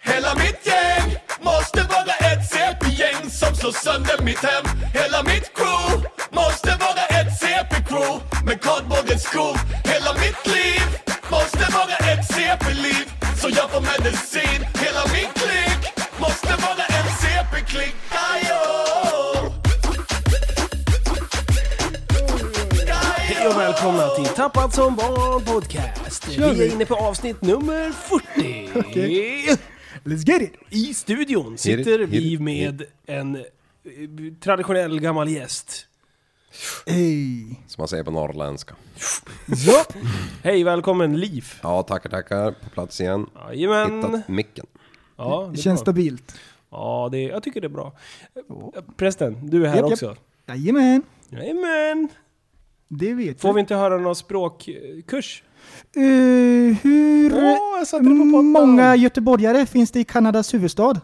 Hela mitt gäng måste vara ett CP-gäng som slår sönder mitt hem Hela mitt crew måste vara ett CP-crew med kardborrens skor Hela mitt liv måste vara ett CP-liv så jag får medicin Hela min klick måste vara en CP-klick Ajo! Hej och välkomna till Tappad som barn podcast. Kör Vi vi. är inne på avsnitt nummer 40. Okej. Let's get it! I studion Hit sitter it, hit vi it, med en eh, traditionell gammal gäst. Hey. Som man säger på norrländska. Ja, Hej, välkommen Liv. Ja, tackar, tackar. På plats igen. Jajamän. Hittat micken. Ja, det är känns bra. stabilt. Ja, det, jag tycker det är bra. Eh, Prästen, du är här Japp, japp. också. Jajamän, Jajamän. det vet Får jag. vi inte höra någon språkkurs? Eh, hur Åh, jag satte det på pottan. många göteborgare finns det i Kanadas huvudstad?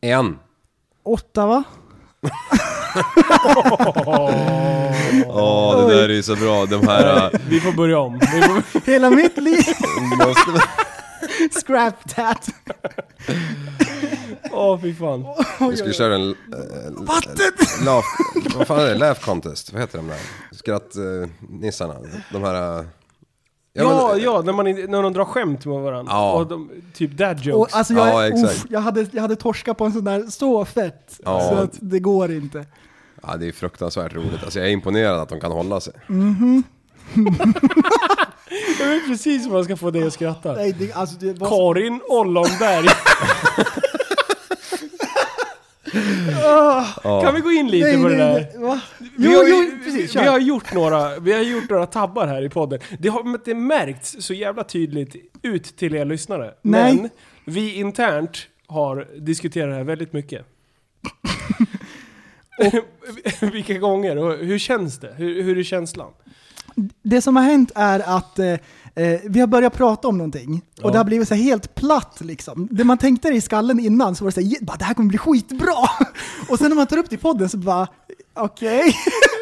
En! Ottawa? Åh, det där är ju så bra. De här... äh, Vi får börja om. Vi får... Hela mitt liv! måste... Scrap that! Åh, fy fan. Vi skulle köra en... Vattnet! Vad fan är det? Laugh contest? Vad heter de där? Skrattnissarna? De här... äh, Ja, men- ja, när, man, in- när de drar skämt med varandra. Ja. Och de, typ dad Och, jokes. alltså jag, Ja, exakt. uff, jag, hade, jag hade torskat på en sån där så fett. Ja. Så att det går inte. Ja, det är fruktansvärt roligt. Alltså jag är imponerad att de kan hålla sig. Jag vet precis hur man ska få dig att skratta. Nej, det, alltså det var så, Karin Ollonberg. Kan vi gå in lite nej, på det nej, där? nej, va? Vi Jo, har, ju- jo, precis. vi, Kör. har gjort några, vi har gjort några tabbar här i podden. Det har men det märkts så jävla tydligt ut till er lyssnare. Nej. Men vi internt har diskuterat det här väldigt mycket. Vilka gånger och hur känns det? Hur, hur är känslan? Det som har hänt är att eh, eh, vi har börjat prata om någonting och det har blivit så här helt platt liksom. Det man tänkte i skallen innan så var det så här, "Je- bara, det här kommer bli skitbra. och sen när man tar upp det i podden så bara, okej.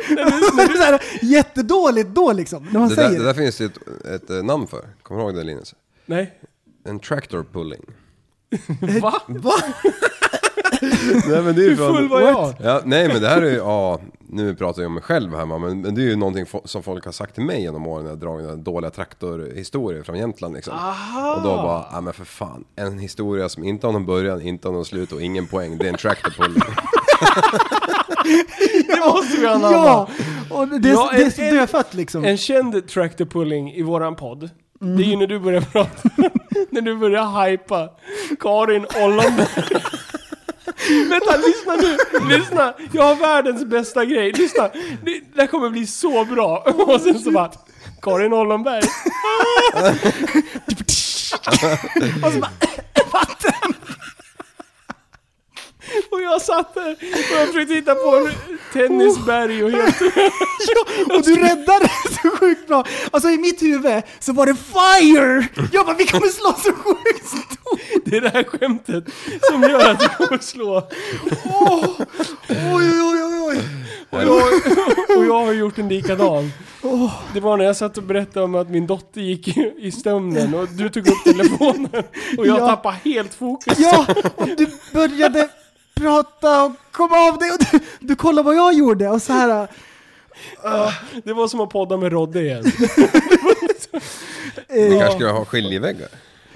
så här, Jättedåligt då liksom, när man Det där, säger det där finns det ju ett, ett äh, namn för. Kommer du ihåg det Linus? Nej? En tractor pulling. Va? Nej men det är ju Hur full var jag? Ja, nej men det här är ju, ja, nu pratar jag om mig själv här men, men det är ju någonting fo- som folk har sagt till mig genom åren när jag dragit några dåliga traktorhistorier från Jämtland liksom. Och då bara, ja men för fan, en historia som inte har någon början, inte har någon slut och ingen poäng, det är en tractor pull. Det måste vi anamma! Ja, och det, det, Ja, det är en- så en- dödfött liksom. En känd tractor pulling i våran podd, det är ju när du börjar prata, när du börjar hypa Karin Ollonberg. Vänta, lyssna nu! Lyssna! Jag har världens bästa grej, lyssna! Det, det här kommer bli så bra! Och sen så bara, Karin Ollonberg. Och så bara, vatten! Och jag satt där och jag försökte hitta på en tennisberg och helt Ja, och du räddade det så sjukt bra. Alltså i mitt huvud så var det fire! Jag bara, vi kommer slå så sjukt stort! Det är det här skämtet som gör att jag kommer slå. Åh, Oj, oj, oj, oj. Och jag, och jag har gjort en likadan. Det var när jag satt och berättade om att min dotter gick i- i sömnen och du tog upp telefonen och jag Ja. tappade helt fokus. Ja, och du började prata och kom av dig och du, du kollade vad jag gjorde och så här. Det var som att podda med Rodde igen. Vi Eh, kanske skulle ha skiljeväggar.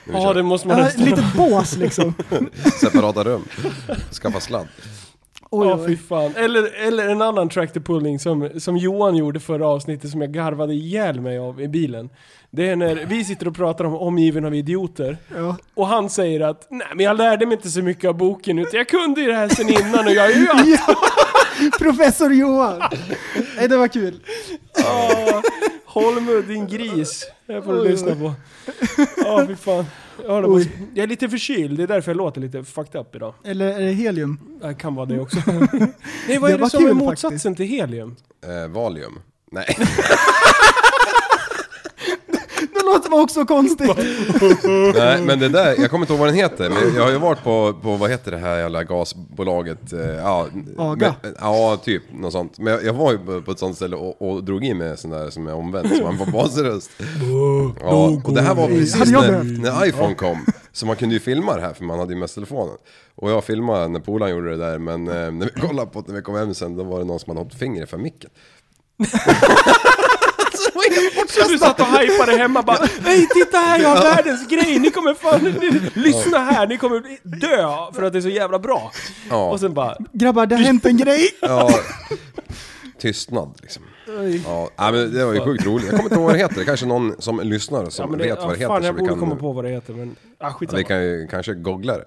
När vi Ja, kör. det måste man ja, nästan... lite bås liksom. Separata rum. Skaffa sladd. Oj, Ja, fy oj. fan. Eller, eller en annan tractor pulling som, som Johan gjorde förra avsnittet som jag garvade ihjäl mig av i bilen. Det är när vi sitter och pratar om omgiven av idioter. Ja. Och han säger att nej men jag lärde mig inte så mycket av boken utan jag kunde ju det här sen innan och jag är ju allt." ja, professor Johan. Nej, det var kul. Ah, Holmö din gris. Det här får du Oj, lyssna oj. på. Ja fy fan. Jag, håller på. Oj. jag är lite förkyld, det är därför jag låter lite fucked up idag. Eller är det helium? Det kan vara det också. Nej vad Det är det var som är kul motsatsen faktiskt. till helium? Eh, valium. Nej, Det lå- låt var också konstigt. Nej, Mm. men det där, jag kommer inte ihåg vad den heter, men jag har ju varit på, på vad heter det här jävla gasbolaget? eh, Ja, Aga. Men, ja, typ något sånt. Men jag, jag var ju på- på ett sånt ställe och, och drog in med sån där som är omvänd, så man får basröst. Ja, och det här var precis Hade jag när, behövt? när iPhone kom. Så man kunde ju filma det här, för man hade ju mest telefonen. Och jag filmade när polaren gjorde det där, men eh, när vi kollade på det när vi kom hem sen, då var det någon som hade hoppat fingret för micken. Så du satt och hypade hemma bara Nej titta här, jag har världens grej! Ni kommer fan... Ni, lyssna här, ni kommer dö för att det är så jävla bra! Ja. Och sen bara... Grabbar, det har hänt en grej. Ja, tystnad liksom. Ja, nej, men det var ju sjukt roligt. Jag kommer inte ihåg vad det heter. Det kanske är någon som lyssnar som Ja, men det, vet vad det ja, heter. fan, så jag vi borde kan- komma på vad det heter men... Ah, Ja, skitsamma. vi kan ju kanske googla det.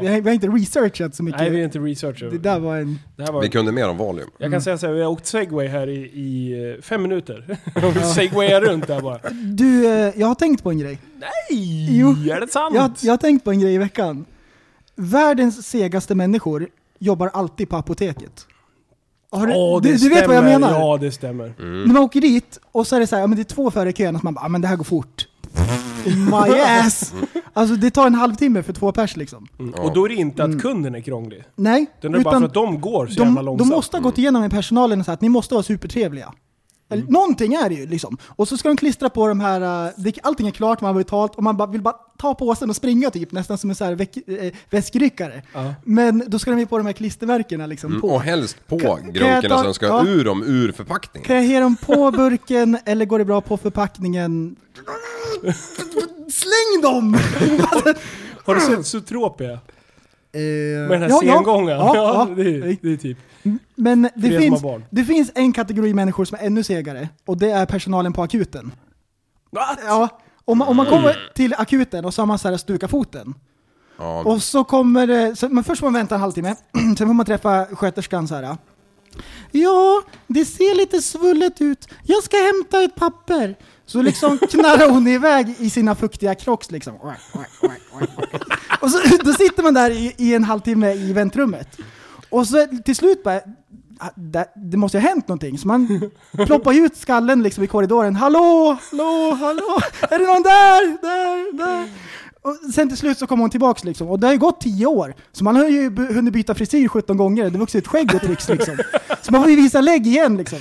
Vi har, vi har inte researchat så mycket. Nej, vi är inte researcher. Det där var en... Det här var... Vi kunde mer om Valium. Jag kan säga så här, vi har åkt segway här i, i eh, fem minuter. Segwayar runt där bara. Du, eh, jag har tänkt på en grej. Nej! Jo. Är det sant? Jag, jag har tänkt på en grej i veckan. Världens segaste människor jobbar alltid på apoteket. Har du, Åh, det du, du vet vad jag stämmer. menar? Ja, det stämmer. Mm, När man åker dit och så är det så här, ja, men det är två före i kön och så man bara, ah, men det här går fort. Oh My ass! Alltså det tar en halvtimme för två pers liksom. Mm. Och då är det inte att kunden är krånglig. Nej, Den är bara för att de går så jävla de, de långsamt. måste ha gått igenom med personalen och sagt att ni måste vara supertrevliga. Eller, Mm. Någonting är det ju liksom. Och så ska de klistra på de här, eh, det- allting är klart, man har betalt och man bara, vill bara ta påsen och springa typ, nästan som en så här väck, eh, väskryckare. Ja. Men då ska de ju på de här klistermärkena liksom. Mm, På. Och helst på kan jag grunkorna ta- så de ska ja. ur dem ur förpackningen. Kan jag ge dem på burken eller går det bra på förpackningen? Släng dem! Har du sett Zootropia? Med Med den här sengången? Ja, ja, det, är, det är typ. Men er det som finns, har barn. det finns en kategori människor som är ännu segare och det är personalen på akuten. Ja, om man, om man kommer till akuten och så har man så här stukat foten. Ja. Och så kommer det, så, men först får man vänta en halvtimme, sen får man träffa sköterskan så här. Ja, det ser lite svullet ut. Jag ska hämta ett papper. Så liksom knarrar hon iväg i sina fuktiga crocs liksom. Och så, då sitter man där i, i en halvtimme i väntrummet. Och så till slut bara, "Ah, det, det måste ju ha hänt någonting. Så man ploppar ju ut skallen liksom i korridoren. Hallå, hallå, hallå, är det någon där, där, där? Och sen till slut så kom hon tillbaks liksom. Och det har ju gått tio år. Så man har ju b- hunnit byta frisyr 17 gånger. Det har vuxit skägg och tricks liksom. Så man får ju visa lägg igen liksom.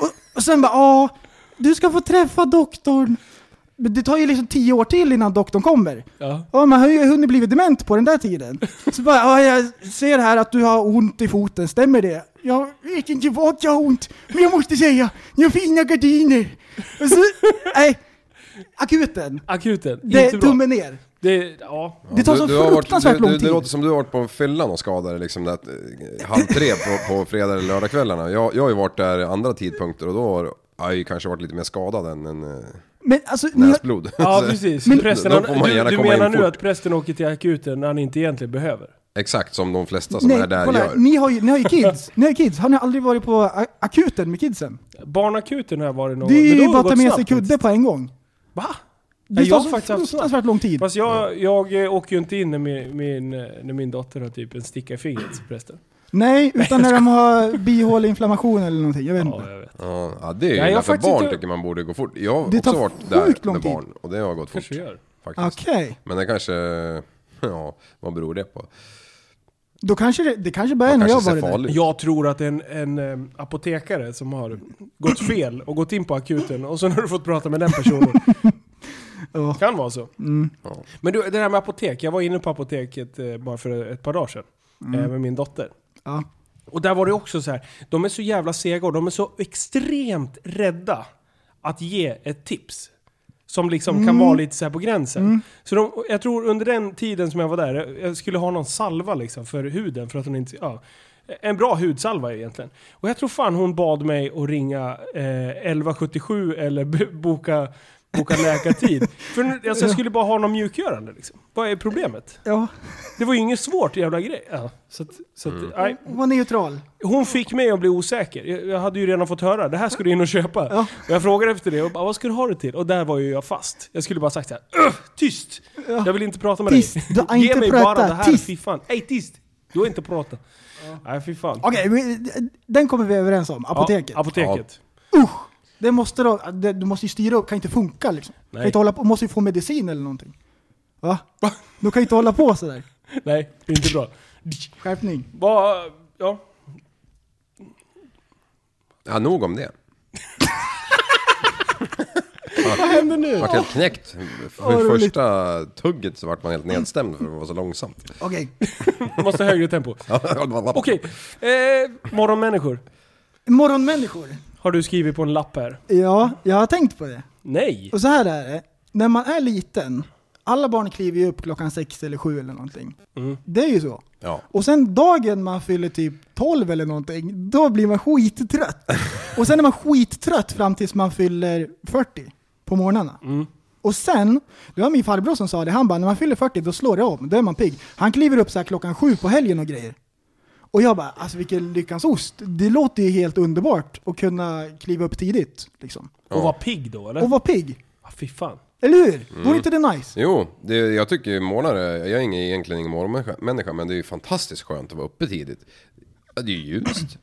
Och, och sen bara, ja, du ska få träffa doktorn. Men det tar ju liksom tio år till innan doktorn kommer. Ja. Ja, man har ju hunnit blivit dement på den där tiden. Så bara, ja, jag ser här att du har ont i foten, stämmer det? Jag vet inte vad jag har ont, men jag måste säga, ni har fina gardiner. Och så, nej, akuten. Akuten, Det är inte bra. tummen ner. Det, ja. Det tar så har varit- fruktansvärt du- lång du, tid. Det låter som du har varit på fyllan och skadade liksom där, eh, halv tre på, på fredag eller lördagskvällarna. Jag, jag har ju varit där andra tidpunkter och då har jag ju kanske varit lite mer skadad än, än eh, Men alltså, ni har, näsblod. Ja Så precis. då- prästen, då han, får man du, gärna du komma menar in nu fort. att prästen åker till akuten när han inte egentligen behöver? Exakt som de flesta som nej, är där kolla, gör. här, ni har ju, ni har ju kids. ni har ju kids. Har ni aldrig varit på a- akuten med kidsen? Barnakuten har jag varit någon Det gång, men är då ju har bara det att ta gått med snabbt sig kudde faktiskt. på en gång. Va? Det Nej, jag tar har så faktiskt haft snabbt. fruktansvärt lång tid. Fast jag, jag eh, åker ju inte in när min, min, eh, när min dotter har typ en sticka i fingret förresten. Nej, utan när de har bihåleinflammation eller någonting. Jag vet inte. Ja, jag vet. Ja, ja, det är ju Nej, jag illa för faktiskt barn inte- tycker man borde gå fort. Jag har Det också tar varit där sjukt lång med tid. barn och det har gått fort. Kanske gör. Faktiskt. Okej. Men det kanske, ja, vad beror det på? Då kanske det, det kanske börjar Man när jag kanske var ser där. farlig ut. Jag tror att en, en eh, apotekare som har gått fel och gått in på akuten och sen har du fått prata med den personen. Ja. Mm. Kan vara så. Ja. Men du, det här med apotek. Jag var inne på apoteket eh, bara för ett par dagar sedan Mm. eh, med min dotter. Ja. Och där var det också så här. de är så jävla sega och de är så extremt rädda att ge ett tips. Som liksom kan vara lite så här på gränsen. Så de, jag tror under den tiden som jag var där, jag- jag skulle ha någon salva liksom för huden för att hon inte... Ja, en bra hudsalva egentligen. Och jag tror fan hon bad mig att ringa eh, 1177 eller b- boka, boka läkartid. för nu- alltså, jag skulle bara ha någon mjukgörande liksom. Vad är problemet? ja. Det var ju inget svårt jävla grej. Ja, så att, så att, nej. Var neutral. Hon fick mig att bli osäker. Jag- Jag hade ju redan fått höra, det här ska du in och köpa. Ja. Och jag frågade efter det och bara, vad ska du ha det till? Och där var ju jag fast. Jag skulle bara sagt så här, "Ugh, tyst! Jag vill inte prata med Tyst. dig. Du har Ge inte mig bara pratat. det här, Tyst." fy fan. Ej, tyst! Du har inte pratat. Nej, fy fan. Okej, vi- den kommer vi överens om. Ja, Apoteket. apoteket. Det måste då, det, du måste ju styra upp, kan inte funka liksom. Nej. Kan inte hålla på, måste ju få medicin eller någonting. Va? Du kan ju inte hålla på sådär. Nej, det är inte bra. Skärpning. Vad, ja. Ja, nog om det. Vad händer nu? Vart helt knäckt. Åh, För roligt. första tugget så vart man helt nedstämd för att det var så långsamt. Okej. Måste ha högre tempo. Okej, eh, morgonmänniskor. Morgonmänniskor. Har du skrivit på en lapp här? Ja, jag har tänkt på det. Nej. Och så här är det. När man är liten, alla barn kliver ju upp klockan sex eller sju eller någonting. Det är ju så. Ja. Och sen dagen man fyller typ 12 eller någonting, då blir man skittrött. Och sen är man skittrött fram tills man fyller 40 på morgnarna. Och sen, det var min farbror som sa det, han bara när man fyller 40 då slår det om, då är man pigg. Han kliver upp så här klockan sju på helgen och grejer. Och jag bara, alltså vilken lyckans ost. Det låter ju helt underbart att kunna kliva upp tidigt. Liksom. Och var pigg då eller? Och vara pigg. Ah, fy fan. Eller hur? Mm. Vore inte det nice? Jo, det, jag tycker ju morgnare, jag är ingen, egentligen ingen morgonmänniska men det är ju fantastiskt skönt att vara uppe tidigt. Ja, Det är ju ljust.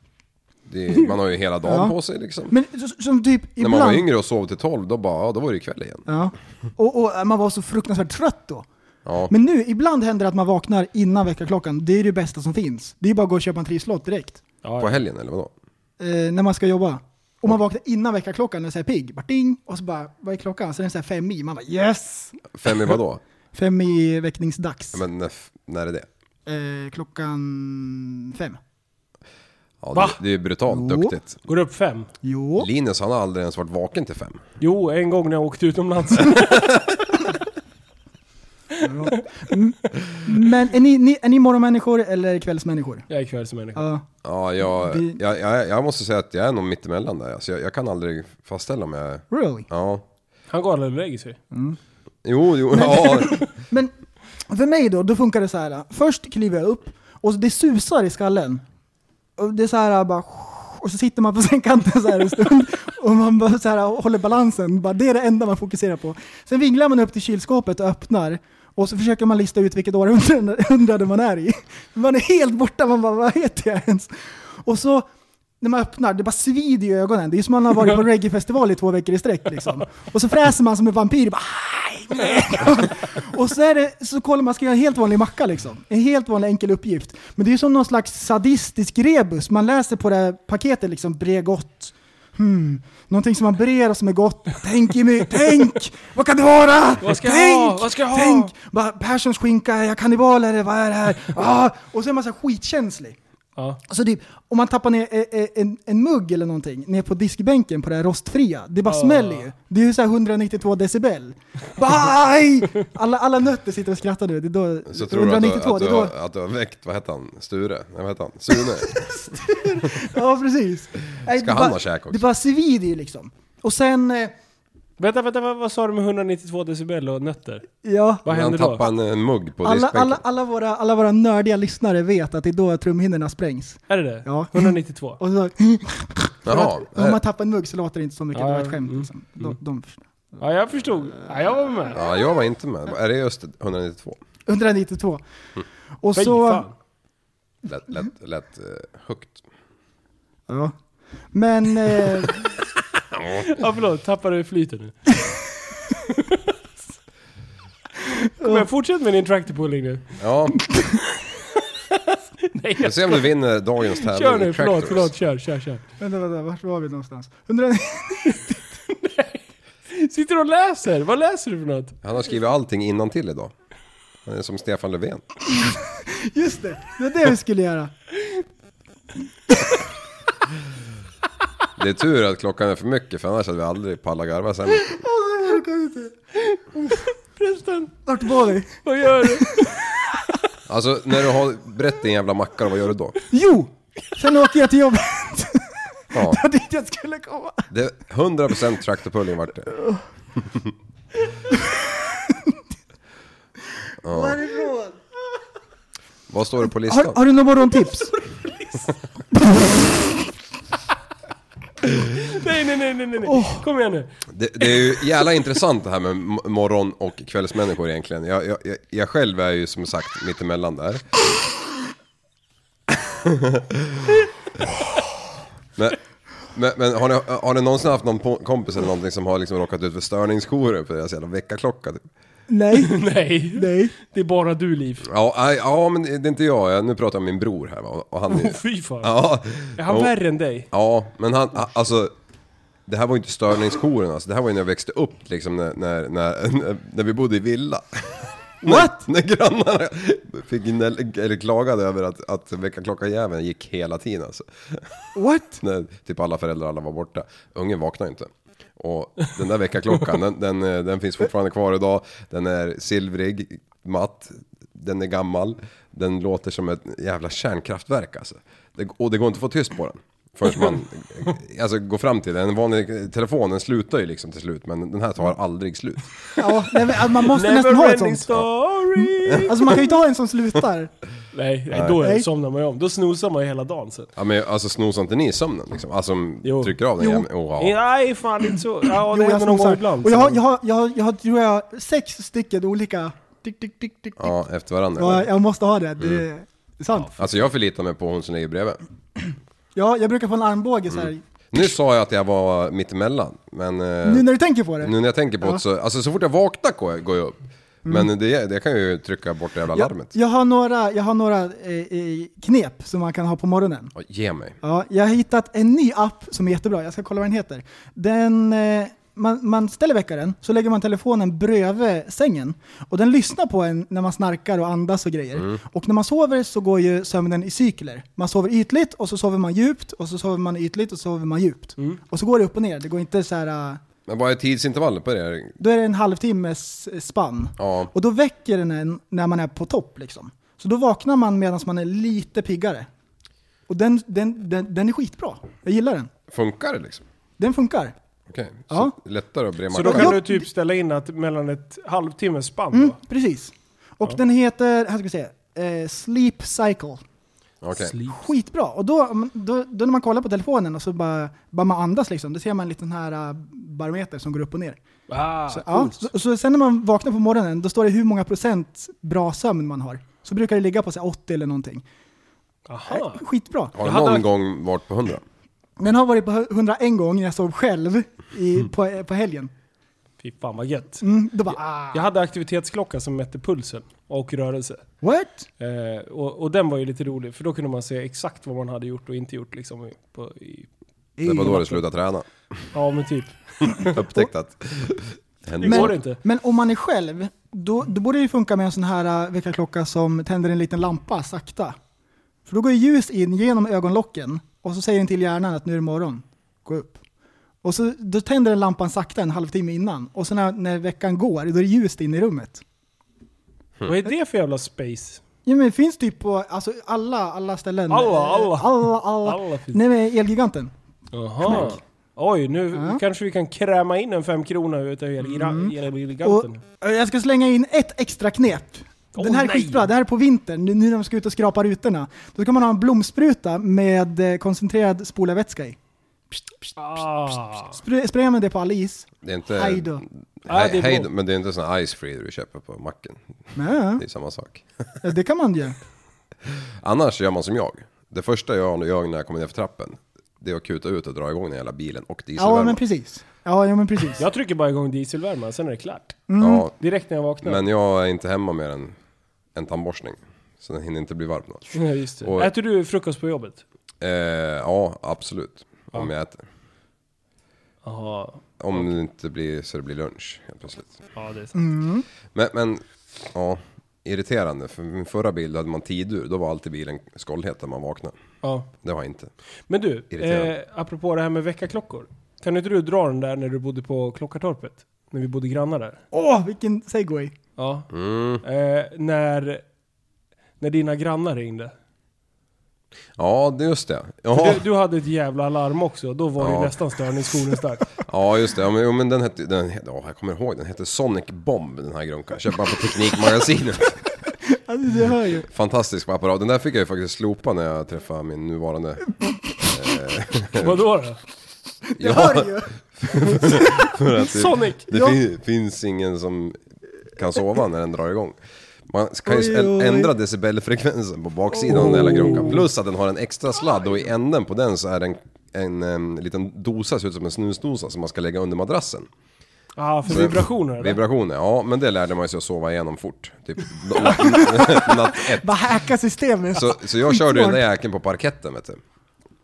Det är, man har ju hela dagen Ja. på sig liksom. Men så- som typ När ibland... man var yngre och sov till 12 då bara, ja, då var det ju kväll igen. Ja. Och, och man var så fruktansvärt trött då. Ja. Men nu, ibland händer det att man vaknar innan väckarklockan. Det är det bästa som finns. Det är bara att gå och köpa en trisslott direkt. Ja, På helgen eller vadå? Eh, när man ska jobba. Och man vaknar innan väckarklockan och säger pigg. Bara ding. Och så bara, vad är klockan? Så är den såhär fem i. Man bara yes! Fem i vadå? Fem i väckningsdags. Ja, men när, f- när är det? Eh, klockan fem. Ja, Va? det, det är brutalt Jo. duktigt. Går upp fem? Jo. Linus han har aldrig ens varit vaken till fem. Jo, en gång när jag åkte utomlands. Men är ni, ni, är ni morgonmänniskor eller kvällsmänniskor? jag är kvällsmänniska. Ja. Ja, jag, Vi- jag, jag, jag måste säga att jag är nog mittemellan där. Alltså, jag, jag kan aldrig fastställa om jag... really? Ja. Han går aldrig och lägger sig. Jo, jo, ja. Men för mig då, då funkar det så här. Först kliver jag upp och det susar i skallen. Och det är så här bara... Och så sitter man på sängkanten så här en stund och man bara så här håller balansen. Bara, det är det enda man fokuserar på. Sen vinglar man upp till kylskåpet och öppnar. Och så försöker man lista ut vilket århundrade man är i. Man är helt borta, man bara vad heter jag ens? Och så när man öppnar, det bara svider i ögonen. Det är ju som man har varit på reggaefestival i två veckor i sträck liksom. Och så fräser man som en vampyr. Bara, "Aj, nej." och så, är det, så kollar man, ska göra en helt vanlig macka liksom. En helt vanlig enkel uppgift. Men det är ju som någon slags sadistisk rebus. Man läser på det här paketet liksom, Bregott. Hmm. Någonting som man brer och som är gott. Tänk Jimmy, tänk! Vad kan det vara? Vad ska jag tänk! ha? Vad ska jag ha? tänk! Bara, Perssons skinka, är jag kannibal eller vad är det här? Ah! Och så är man så här skitkänslig. Ja. Alltså typ, om man tappar ner eh, eh, en, en mugg eller någonting ner på diskbänken på det här rostfria, det bara Ah. smäller ju. Det är ju såhär 192 decibel. Baj! Alla, alla nötter sitter och skrattar nu. Det är då, Så tror du att du, 192, att, det du är då... har, att du har väckt, vad hette han, Sture? Nej, vad hette han? Sune? Ja, precis. Nej, Ska det han bara- ha käk också? Det bara svider ju liksom. Och sen, eh, Vänta, vänta, vad, vad sa du med 192 decibel och nötter? ja. Vad han händer tappade då? en eh, mugg på Alla, diskbänken. alla, alla, våra, alla våra nördiga lyssnare vet att det är då trumhinnorna sprängs. Är det det? Ja. 192? Och så, Jaha, att, om eh, man tappar en mugg så låter det inte så mycket, det var ett skämt liksom. mm, De, de, Ja, jag förstod. Ja, jag var med. ja, jag var inte med. Är det just 192? 192. Och Fy så... fan. Lätt, lätt, lätt eh, högt. Ja. Men... Eh, Ja, förlåt. Tappade du flytet nu? Kom igen, fortsätt med din tractor pulling nu. Ja, Nej, vi jag ser om du vinner dagens tävling Kör i nu, förlåt, Tractors. förlåt, kör, kör, kör. vänta, vänta, vart var vi någonstans? 100, Sitter du och läser? Vad läser du för något? Han har skrivit allting innan till idag. Han är som Stefan Löfven. just det, det var det vi skulle göra. Det är tur att klockan är för mycket för annars hade vi aldrig pallat garva sen. Alltså, jag orkar inte. Förresten, Vart var vi? vad gör du? Alltså när du har brett din jävla macka vad gör du då? Jo! Sen åker jag till jobbet. Ja, Det var dit jag skulle komma. det är 100% traktorpulling vart det. Varifrån? Vad står det på Har, listan? har du några morgontips? Nej, nej, nej, nej, nej. nej. Kom igen nu. Det, det är ju jävla intressant det här med m- morgon och kvällsmänniskor egentligen. Jag, jag, jag- jag själv är ju som sagt mittemellan där. Men, Men, men har, ni, har ni någonsin haft någon po- kompis eller någonting som har liksom råkat ut för störningsjourer på deras jävla väckarklocka? Typ? Nej, Nej. nej. Det är bara du, Liv. Ja, nej, ja, men det är inte jag. Jag- Nu pratar jag om min bror här va? och han är Åh, fy fan. Ja, Är han Jo. värre än dig? Ja, men han, a- alltså. Det här var ju inte störningsjouren alltså. Det här var ju när jag växte upp liksom när, när, när, när vi bodde i villa. What? när grannarna fick gnäll, eller klagade över att, att väckarklockarjäveln gick hela tiden alltså. What? När typ alla föräldrar alla var borta. Ungen vaknade inte. Och den där väckarklockan, den, den, eh, den finns fortfarande kvar idag. Den är silvrig, matt, den är gammal. Den låter som ett jävla kärnkraftverk alltså. Det, och det går inte att få tyst på den. Förrän man eh, alltså, går fram till den. En vanlig telefon, den slutar ju liksom till slut. Men den här tar aldrig slut. Ja, nej, men, alltså, man måste nästan ha ett Neverending sånt. story! Alltså man kan ju inte ha en som slutar. Nej, nej, då Nej. somnar man ju om. Då snosar man ju hela dagen sen. Ja men alltså snosar inte ni i sömnen liksom? Alltså Jo. trycker av den Jo. jäveln? Oh, ja. Nej, fan inte så. Ja, det händer Jo, någon snosar. gång ibland. Och jag har, jag, har, jag, har, jag har, tror jag, sex stycken olika... Tick, tick, tick, tick, tick. ja, efter varandra. Ja, jag måste ha det. Det är sant. Alltså jag förlitar mig på hon som ligger bredvid. Ja, jag brukar få en armbåge så här. Nu sa jag att jag var mittemellan, men... eh, Nu när du tänker på det. Nu när jag tänker på Ja. Mm. det så, alltså så fort jag vaknar går jag, går jag upp. Men det, det kan jag ju trycka bort det jävla jag, larmet. jag har några, jag har några eh, eh, knep som man kan ha på morgonen. Ja, Ge mig. Ja, jag har hittat en ny app som är jättebra. Jag ska kolla vad den heter. Den, eh, man, man ställer väckaren, så lägger man telefonen bredvid sängen. Och den lyssnar på en när man snarkar och andas och grejer. Och när man sover så går ju sömnen i cykler. Man sover ytligt och så sover man djupt och så sover man ytligt och så sover man djupt. Och så går det upp och ner. Det går inte så här... eh, Men vad är tidsintervallet på det? här? Då är det en halvtimmes eh, spann. Ja. Och då väcker den en när man är på topp liksom. Så då vaknar man medan man är lite piggare. Och den, den, den, den är skitbra. Jag gillar den. Funkar det liksom? Den funkar. Mm, Okej. Så Ja. Lättare att brema. Så då Ja. kan Ja. du typ ställa in att mellan ett halvtimmes spann Mm, då? precis. Och den heter, här ska vi se, eh, Sleep Cycle. Okej. Sleep. Skitbra. Och då, då, då när man kollar på telefonen och så bara, bara man andas liksom, då ser man en liten här eh, barometer som går upp och ner. Ah, Så, ja, coolt. så, så sen när man vaknar på morgonen, då står det hur många procent bra sömn man har. Så brukar det ligga på så här, 80 eller någonting. Aha. Skitbra. Har du Jag hade- någon gång varit på 100? Den har varit på 101 gång när jag sov själv i, Mm. på, på helgen. Fy fan vad gött. Mm, då bara ah, Jag hade aktivitetsklocka som mätte pulsen och rörelse. what? Eh, och, och den var ju lite rolig, för då kunde man se exakt vad man hade gjort och inte gjort liksom. i- På, i, Det var då du slutade träna. ja men typ. Upptäckt att... Det händer Det går saker. inte. Men om man är själv, då, då borde det ju funka med en sån här äh, väckarklocka som tänder en liten lampa sakta. För då går ju ljus in genom ögonlocken och så säger den till hjärnan att nu är det morgon, gå upp. Och så, då tänder den lampan sakta en halvtimme innan och så när, när veckan går, då är det ljust in i rummet. Mm. Vad är det för jävla space? Ja, men det finns typ på alltså, alla, alla ställen. Alla, Eh, alla. alla, alla. Alla finns. Nej, men Elgiganten. Jaha. Oj, nu Ja. kanske vi kan kräma in en femkrona utav Elgiganten. Och, Mm. eh, jag ska slänga in ett extra knep. Åh, Den här är nej. skitbra, det här är på vintern, nu nu när de ska ut och skrapa rutorna. Då kan man ha en blomspruta med eh, koncentrerad spolarvätska i. Ah. Spr- Sprayar man det på all is, Det är inte... hej då. Ja, det Hej, är hej bra. då. Men det är inte sån här ice free du köper på macken. Ja, Det är samma sak. ja, det kan man ju. Annars gör man som jag. Det första jag gör när jag kommer ner för trappen, det är att kuta ut och dra igång den hela bilen och Ja, dieselvärmen. men precis. Ja, ja men precis. Jag trycker bara igång dieselvärmen, sen är det klart. Ja, Direkt när jag vaknar. mm. men jag är inte hemma mer än en tandborstning. Så den hinner inte bli varm då. Ja, just det. Och- Äter du frukost på jobbet? Eh, ja, absolut. Om jag äter. Jaha. Om det inte blir så det blir lunch helt plötsligt. Ja, det är sant. Men, men ja, irriterande. För min förra bil hade man tidur. Då var alltid bilen skållhet när man vaknade. Ja. Det har jag inte. Men du, eh, Irriterande. apropå det här med veckaklockor. Kan inte du dra den där när du bodde på Klockartorpet? När vi bodde grannar där? Åh, vilken segway. Ja. Mm. Eh, när, när dina grannar ringde. Ja, det är just det. Ja, Du, du hade ett jävla alarm också, då var det Ja. ju nästan störningsjouren stark. ja just det. Ja, men, jo, men den hette, den, hette- ja, jag kommer ihåg, den hette Sonic Bomb den här grunkan. Köpte man på Teknikmagasinet. Alltså, du hör ju. Fantastisk apparat. Den där fick jag ju faktiskt slopa när jag träffade min nuvarande... Vadå då? Du hör ju. För att det- Sonic! typ. Det Ja. fin, finns ingen som kan sova när den drar igång. Man kan ju Oj, oj. Oh. ändra decibelfrekvensen på baksidan av den hela grunkan. Plus att den har en extra sladd och i änden på den så är det en en, em, liten dosa, ser ut som en snusdosa som man ska lägga under madrassen. Ja, för vibrationer eller? Vibrationer, ja men det lärde man sig att sova igenom fort. Typ natt, natt ett. Bara hacka systemet. Så, så jag körde ju den där jäkeln på parketten vet du.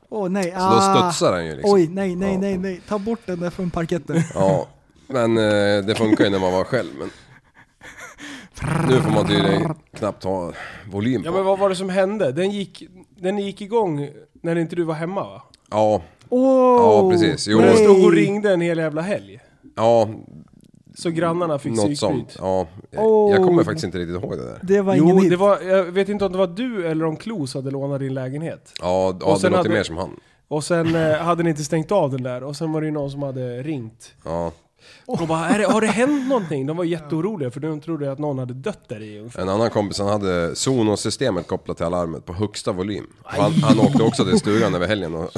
Åh nej. Ah. Så då studsar den ju liksom. Oj, nej, nej, Ja. nej, nej. Ta bort den där från parketten. Ja, men eh, det funkar ju när man var själv. Men... Nu får man tydligen knappt ha volym Ja men på. vad var det som hände? Den gick, den gick igång när inte du var hemma va? Ja, Åh! Ja, precis. Jo. Men den Nej. stod och ringde en hel jävla helg. ja, Så grannarna fick något sånt. psykbryt. Ja, Åh. jag kommer faktiskt inte riktigt ihåg det där. Det var ingen Jo, hit. det var, jag vet inte om det var du eller om Klos hade lånat din lägenhet. Ja, Och ja det sen låter hade- mer som han. Och sen eh, hade ni inte stängt av den där och sen var det ju någon som hade ringt. Ja, Och bara, är det, har det hänt någonting? De var jätteoroliga för de trodde att någon hade dött där i ungefär. en annan kompis han hade Sonos-systemet kopplat till alarmet på högsta volym. Han, han åkte också till stugan över helgen och...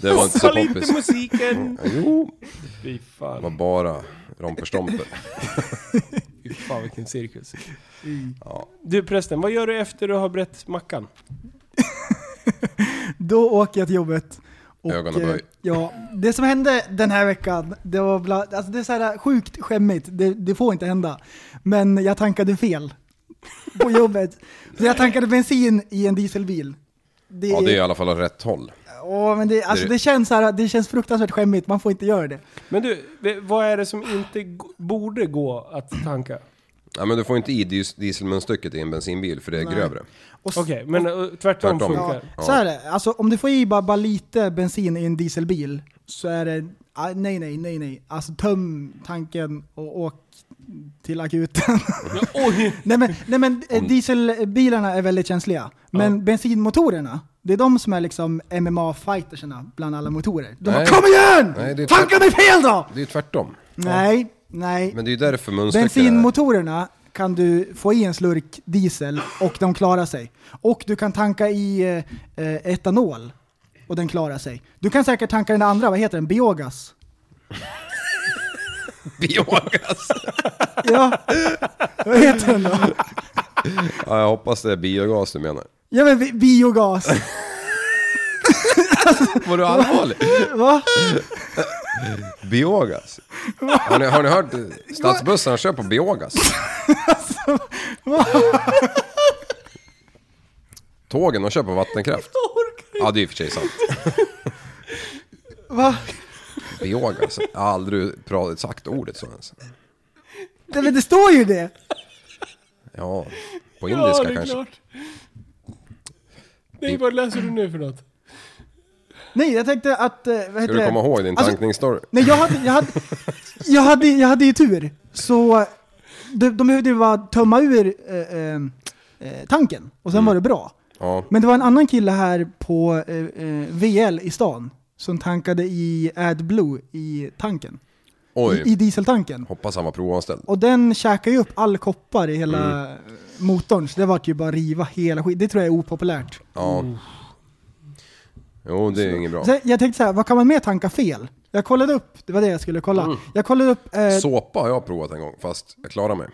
det var inte så poppis. musiken! Jo, Fy det fan, var bara romperstomper. fy fan vilken cirkus. Mm. Du prästen, vad gör du efter du har brett mackan? Då åker jag till jobbet. Och, Ögonaböj. eh, Ja, det som hände den här veckan, det var bland, alltså det är så här sjukt skämmigt. Det, det får inte hända. Men jag tankade fel på jobbet. Så jag tankade bensin i en dieselbil. Det, Ja, det är i alla fall åt rätt håll. åh, men det, alltså det- det, känns så här, det känns fruktansvärt skämmigt, man får inte göra det. Men du, v- vad är det som inte g- borde gå att tanka? Ja, men du får inte i dis- dieselmunstycket i en bensinbil för det är grövre. Och s- Okej, men eh, tvärtom, Tvärtom. funkar. ja, så här är det, alltså, om du får i bara, bara lite bensin i en dieselbil så är det, ah, nej nej nej nej. Alltså töm tanken och åk till akuten. Oj! Nej men, nej, men eh, dieselbilarna är väldigt känsliga. Men bensinmotorerna, det är de som är liksom MMA-fighterserna bland alla motorer. De bara Nej. KOM IGEN! Nej, det är Tanka mig fel då! Det är ju tvärtom. Nej, nej. Men det är ju därför munstycket är... Bensinmotorerna kan du få i en slurk diesel och de klarar sig. Och du kan tanka i eh, eh, etanol och den klarar sig. Du kan säkert tanka den andra, vad heter den? Biogas? Biogas! Ja, vad heter den då? ja, jag hoppas det är biogas du menar. Ja men bi- biogas. Var du allvarlig? Va? Biogas? Har ni, har ni hört? eh, Stadsbussarna kör på biogas. Tågen, de kör på vattenkraft. Ja, det är i och för sig sant. Va? Biogas. Jag har aldrig pratat, sagt ordet så ens. Nej, men det står ju det! Ja, på Ja, indiska det är kanske. klart. Nej, vad läser du nu för något? Nej, jag tänkte att... eh, Vad heter Ska du det? komma ihåg din Alltså, tankningsstory? Nej, jag hade, jag, hade, jag, hade, jag hade ju tur. Så de, de behövde ju bara tömma ur eh, eh, eh, tanken och sen var det bra. Mm. Ja. Men det var en annan kille här på eh, eh, VL i stan som tankade i AdBlue i tanken. I, I Oj, dieseltanken. hoppas han var provanställd. Och den käkade ju upp all koppar i hela Mm. motorn, så det vart ju bara riva hela skiten. Det tror jag är opopulärt. Ja. Jo, det är ju inget bra. Sen, jag tänkte så här, vad kan man mer tanka fel? Jag kollade upp, det var det jag skulle kolla. Mm. Jag kollade upp eh, Såpa har jag provat en gång, fast jag klarade mig.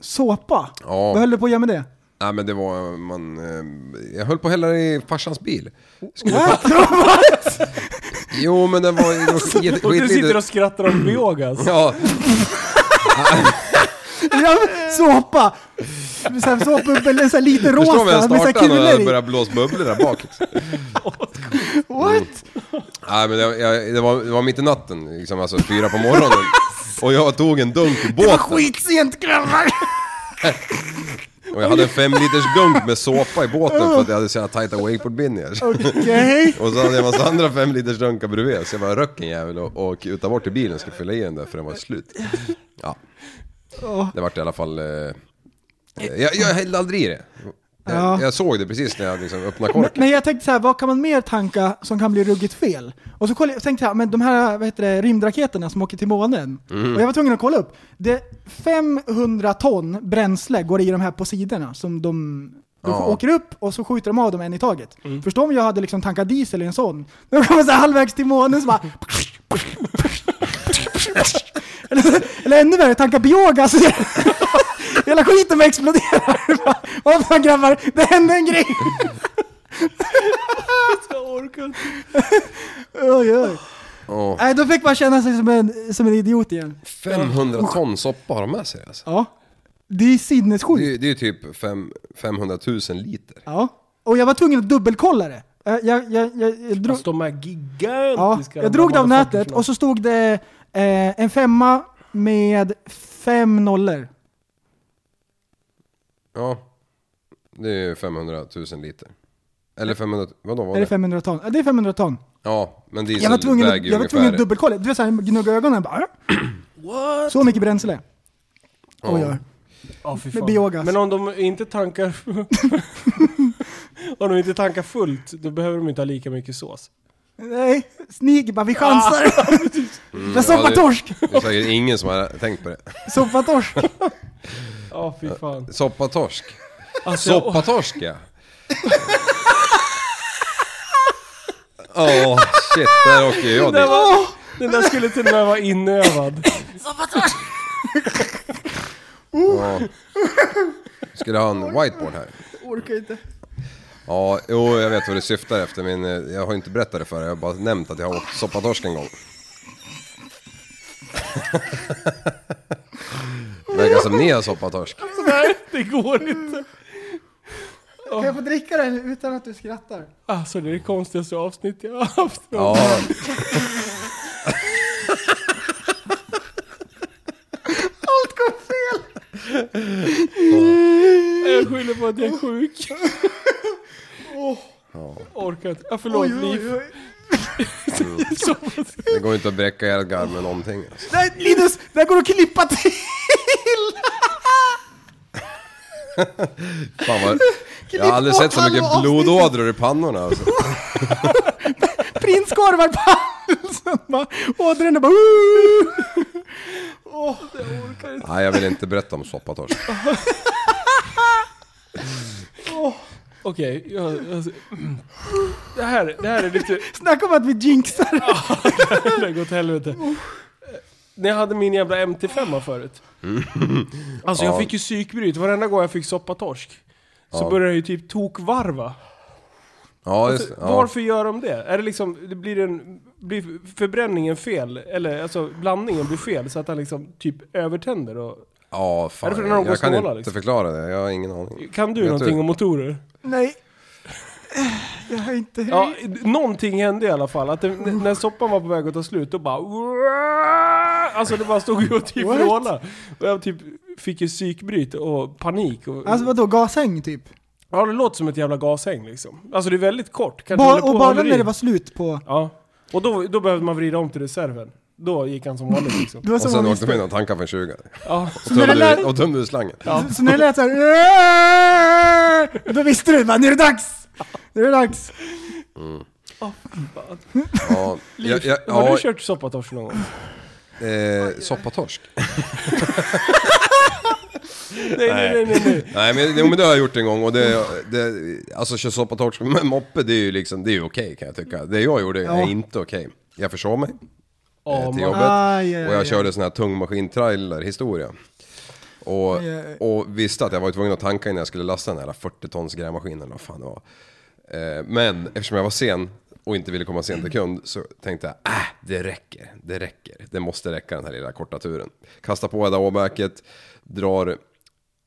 såpa. Ja. Vad höll du på att göra med det? Nej men det var, man... eh, Jag höll på att hälla i farsans bil. Skulle Äh? Jo men den var... det var skit- Och du skitlite- sitter och skrattar om biogas. Ja, Ja, såpa! Såhär, såpbubbel, en sån här liten förstår vi en rosa med såhär startan kulor och i. börjar blåsa bubblor där bak. What? Mm. Nej men det, jag, det, var, det var mitt i natten, liksom, alltså fyra på morgonen. Och jag tog en dunk i Det var båten. skitsent grabbar! Och jag hade en fem liters dunk med såpa i båten för att jag hade så jävla tajta wakeboardbindningar. Okej. Och så hade jag en massa andra fem liters dunkar bredvid, så jag bara röck en jävel och, och kutade bort till bilen och skulle fylla i den där för den var slut. Ja. Det vart i alla fall... Eh, eh, jag, jag hällde aldrig i det. Jag, Ja. jag såg det precis när jag liksom öppnade Men, korken. men jag tänkte så här, vad kan man mer tanka som kan bli ruggigt fel? Och så kollade, jag- tänkte jag, men de här vad heter det, rymdraketerna som åker till månen. Och jag var tvungen att kolla upp. Det 500 ton bränsle går i de här på sidorna som de de Ja. åker upp och så skjuter de av dem en i taget. Förstå om jag hade liksom tankat diesel i en sån. När de kommer så här halvvägs till månen så bara... eller, eller ännu värre, tanka biogas. Hela skiten bara exploderar. Vad fan grabbar, det hände en grej. Oj, oj. Ja. Nej, då fick man känna sig som en, som en idiot igen. 500 ton soppa har de med sig alltså. Ja. Det är Det är sinnessjukt. ju- det är ju typ fem, 500 000 liter. Ja. Och jag var tvungen att dubbelkolla det. Eh, Jag, jag, jag, jag drog... Alltså de här Ja, gigantiska... jag drog det av motherfuckers nätet med. och så stod det eh, en femma med fem nollor. Ja. Det är ju 500 000 liter. Eller 500... Vadå var Är det det? 500 ton? Ja, det är 500 ton. Ja, men diesel Jag var tvungen att, väger jag var tvungen att ungefär- dubbelkolla. Du vet såhär, gnugga ögonen bara. Så mycket bränsle. Ja. Oj, oj. Ja, fy Med fan. biogas. Men om de inte tankar... om de inte tankar fullt, då behöver de inte ha lika mycket sås. Nej, snig bara, vi chansar. Mm, jag Ah. ja, soppar det- torsk. Det är säkert ingen som har tänkt på det. Soppar torsk. Ja, fy fan. Soppatorsk. Alltså, jag- Soppatorsk ja. Åh shit, där åker jag Den, dit. var, den där skulle till och med vara inövad. Ja. Ska du ha en whiteboard här? Orkar inte. Ja, jo jag vet vad du syftar efter men eh, jag har inte berättat det för dig. Jag har bara nämnt att jag har åkt soppatorsk en gång. Verkar som ni har soppatorsk. Nej, det går inte. Kan jag få dricka den utan att du skrattar? Alltså det är det konstigaste avsnitt jag har haft. Ja, Allt går fel! Jag skyller på att jag är sjuk. Orkar inte. Ja, förlåt, Oj, oj, Liv. oj. Så- det går inte att bräcka ert garv med någonting. Alltså. Nej, Linus, det här går att klippa till! Fan vad... Jag har aldrig sett så mycket blodådror i pannorna alltså. Prinskorvar på halsen bara. Ådrorna bara... "Woo!" Nej, jag vill inte berätta om soppatorsk. Okej, jag... Alltså, det, här, det här är lite... Snacka om att vi jinxar! Det har gått till helvete. Eh, När jag hade min jävla MT5 förut. Alltså jag Ja. fick ju psykbryt. Varenda gång jag fick soppatorsk. Så Ja. började jag ju typ tokvarva. Ja, just ja. Varför gör de det? Är det liksom, det blir, en, blir förbränningen fel? Eller alltså blandningen blir fel så att han liksom typ övertänder? Och, Ja, fan. Är det för när de går jag kan snåla, inte liksom? förklara det. Jag har ingen aning. kan du Vet någonting om motorer? Nej. Jag har inte... Ja, någonting hände i alla fall. Att det, n- när soppan var på väg att ta slut, då bara... Alltså det bara stod ju och typ What? vrålade. Och jag typ fick ju psykbryt och panik. Och, Alltså vadå, gashäng typ? ja, det låter som ett jävla gashäng liksom. Alltså det är väldigt kort. Kanske Ba håller på och bara håller i. när det var slut på... Ja. Och då, då behövde man vrida om till reserven. Då gick han som vanligt liksom. Det var Och så sen många åkte misstag. mina tankar för en 20 Ja. Och tömde när det ut- lär- och tömde ur slangen. Så när det lät såhär... Då visste du bara, nu är det dags! Nu är det dags! Ja, jag, jag, Har ja, du kört soppatorsk någon gång? eh, soppatorsk. Nej, nej, nej, nej. nej. Nej men, jo, men det har jag gjort en gång och det, det alltså köra soppatorsk med moppe det är ju liksom, det är ju okej kan jag tycka. Det jag gjorde är Ja. inte okej. Jag försov mig eh, Ja, till man- jobbet Aj, aj, och jag aj. körde sån här tungmaskintrailer historia. Och, Aj, aj. och visste att jag var tvungen att tanka innan jag skulle lasta den här 40 tons grävmaskinen eller vad fan det var. Eh, Men eftersom jag var sen och inte ville komma sent till kund så tänkte jag äh, det räcker, det räcker. Det måste räcka den här lilla korta turen. Kastar på det där åbäket, drar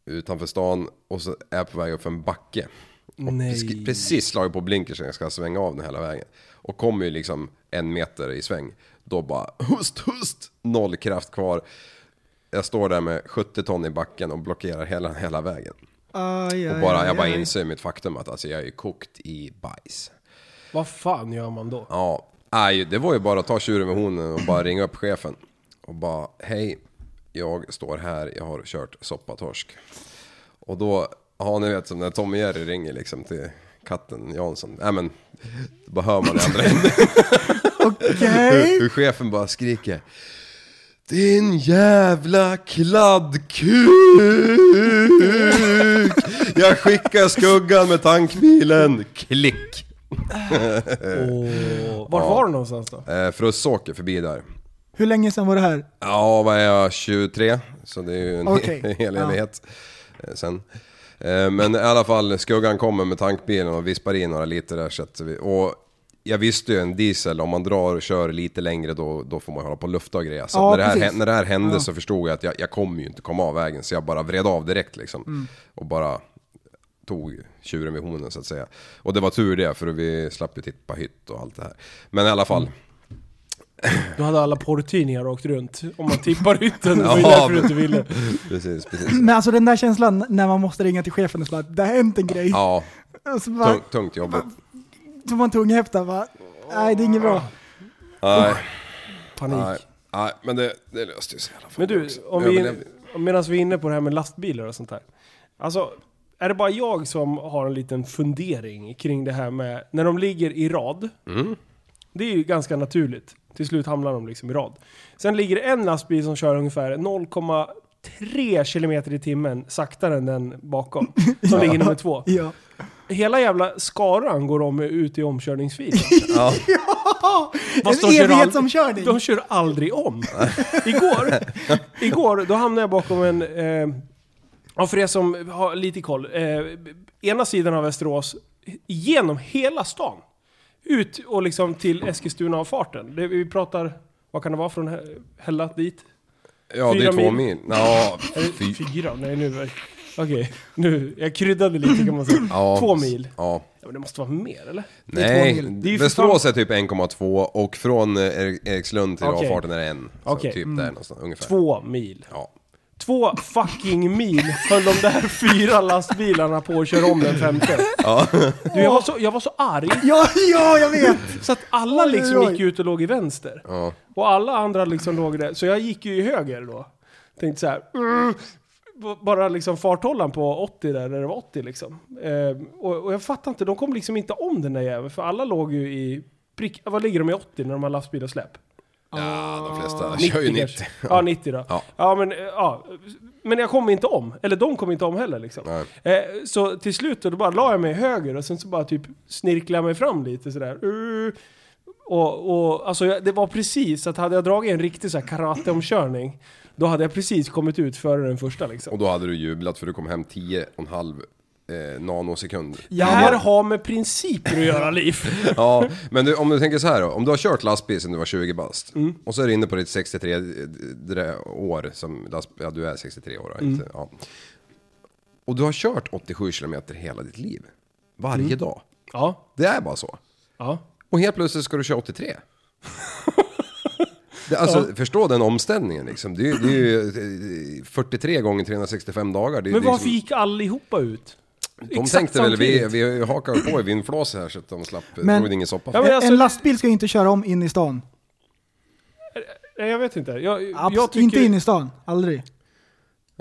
utanför stan och så är jag på väg upp för en backe. Och Nej. precis- precis slagit på blinkersen jag ska svänga av den hela vägen. Och kommer ju liksom en meter i sväng. Då bara hust, hust, noll kraft kvar. Jag står där med 70 ton i backen och blockerar hela, hela vägen. Aj, Och aj, bara, aj, jag bara aj. inser mitt faktum att alltså, jag är ju kokt i bajs. Vad fan gör man då? Ja, nej, det var ju bara att ta tjuren med honen och bara ringa upp chefen. Och bara, hej, jag står här, jag har kört soppatorsk. Och då, ja ni vet som när Tom och Jerry ringer liksom till katten Jansson. Nej men, då bara hör man i andra änden Okej. hur, hur chefen bara skriker. Din jävla kladdkuk! Jag skickar skuggan med tankbilen, klick! Och, vart var du någonstans då? Eh, Frösåker förbi där. Hur länge sedan var det här? Ja, vad är jag? 23? Så det är ju en Okej, hel ja. evighet eh, sen. Eh, Men i alla fall, skuggan kommer med tankbilen och vispar in några liter där. Så att vi, och jag visste ju en diesel, om man drar och kör lite längre då, då får man hålla på och lufta och grejer. Så Ja, när, det här, precis. hän- när det här hände så förstod jag att jag, jag kommer ju inte komma av vägen. Så jag bara vred av direkt liksom. Mm. Och bara tog tjuren vid hornen så att säga. Och det var tur det, för vi slapp ju tippa hytt och allt det här. Men i alla fall. Du hade alla porrtidningar åkt runt. Om man tippar hytten. Det var ju Ja, därför du men- inte ville. Mm. Precis, precis. Men alltså den där känslan när man måste ringa till chefen och säga att det har hänt en grej. Ja, Och så bara, tungt, tungt jobbigt. tog man tunghäfta va? Nej, det är inget bra. Nej, Panik. nej, nej, men det, det löste ju sig i alla fall. Men du, också. om vi, Överlevde. medan vi är inne på det här med lastbilar och sånt där. Alltså, är det bara jag som har en liten fundering kring det här med när de ligger i rad? Det är ju ganska naturligt. Till slut hamnar de liksom i rad. Sen ligger det en lastbil som kör ungefär 0,3 kilometer i timmen saktare än den bakom. Som ligger nummer två. Ja. Hela jävla skaran går om ut i omkörningsfilen. Ja. Ah, Fast en de kör aldrig- evighetsomkörning. De kör aldrig om. igår, igår, då hamnade jag bakom en... Eh, ja, för er som har lite koll. Eh, ena sidan av Västerås, genom hela stan. Ut och liksom till Eskilstuna av farten. Det, vi pratar, vad kan det vara från Hä- Hälla dit? ja, det Fyra är två mil. mil. Ja, Är det fy, Fyra? Nej nu... var- Okej, nu, jag kryddade lite kan man säga. ja, Två mil. Ja. Ja, men det måste vara mer eller? Nej, Det är ju för Västerås är typ 1,2 och från eh, Erik- Erikslund till Okej. avfarten är det en. Så Okej. Mm. typ där någonstans, ungefär. Två mil. Ja. Två fucking mil höll de där fyra lastbilarna på att köra om den femte. Du, jag, var så, jag var så arg, Ja, ja, jag vet! så att alla Oj, oj, liksom oj. gick ut och låg i vänster. Ja. Och alla andra liksom låg där. Så jag gick ju i höger då. Tänkte så här. "Mm." B- Bara liksom farthållaren på 80 där, när det var 80 liksom. Ehm, och, och jag fattar inte, de kom liksom inte om den där jäveln. För alla låg ju i... Prick, vad ligger de i 80 när de har lastbil och släp? ja, de Ah, flesta kör ju 90. kanske. Ja, 90 då. Ja. Ja. men, eh, ja. men jag kom inte om. Eller de kom inte om heller liksom. Eh, så till slut då, då bara la jag mig höger och sen så bara typ snirklade jag mig fram lite sådär. Uh. Och, och alltså jag, det var precis att hade jag dragit en riktig så här karateomkörning, då hade jag precis kommit ut före den första liksom. Och då hade du jublat för du kom hem 10,5 eh, nanosekunder. Det här har med principer att göra, Liv. Ja, men du, om du tänker så här då. Om du har kört lastbil sedan du var 20 bast. Mm. Och så är du inne på ditt 63 det där år som lastbil, ja du är 63 år då, Mm. inte, ja. Och du har kört 87 kilometer hela ditt liv. Varje Mm. dag. Ja, Det är bara så. ja. Och helt plötsligt ska du köra 83. Det, alltså, Förstå den omställningen liksom. Det är, ju- det är ju eh, 43 gånger 365 dagar. Det, är- Men det är varför liksom, gick allihopa ut? De tänkte väl, vi, vi hakar på i vindflåset här så att de slapp, Men- drog det ingen soppa. Ja, men alltså- en lastbil ska ju inte köra om in i stan. Nej, jag vet inte. Jag, Abs- jag tycker... Inte in i stan, aldrig.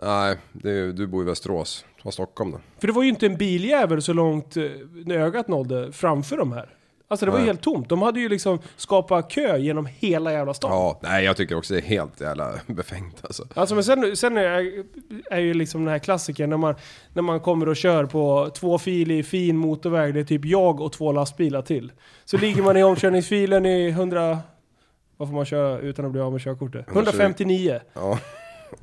Nej, det, är- du bor i Västerås. Ta Stockholm då. För det var ju inte en biljävel så långt eh, när ögat nådde framför de här. Alltså det var ju Nej. helt tomt. De hade ju liksom skapat kö genom hela jävla stan. Ja, nej jag tycker också det är helt jävla befängt alltså. Alltså men sen, sen är, är ju liksom den här klassikern när man, när man kommer och kör på tvåfilig fin motorväg. Det är typ jag och två lastbilar till. Så ligger man i omkörningsfilen i 100... Vad får man köra utan att bli av med körkortet? 159. Ja.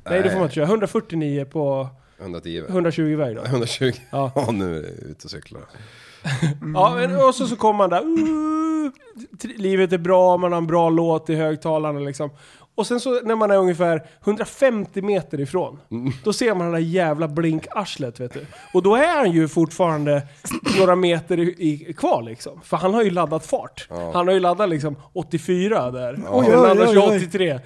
Nej det får man inte köra. 149 på 110 väl? 120-väg då. 120. Ja. Ja. nu är det ute och cyklar. Ja, men, Mm. och så, så kommer man där. "Uh, tri- livet är bra, man har en bra låt i högtalarna liksom. Och sen så när man är ungefär 150 meter ifrån, Mm. då ser man det där jävla blinkarslet vet du. Och då är han ju fortfarande några meter i, i, kvar liksom. För han har ju laddat fart. Han har ju laddat liksom 84 där. Och Oj, den oj, andra oj, kör oj. 83.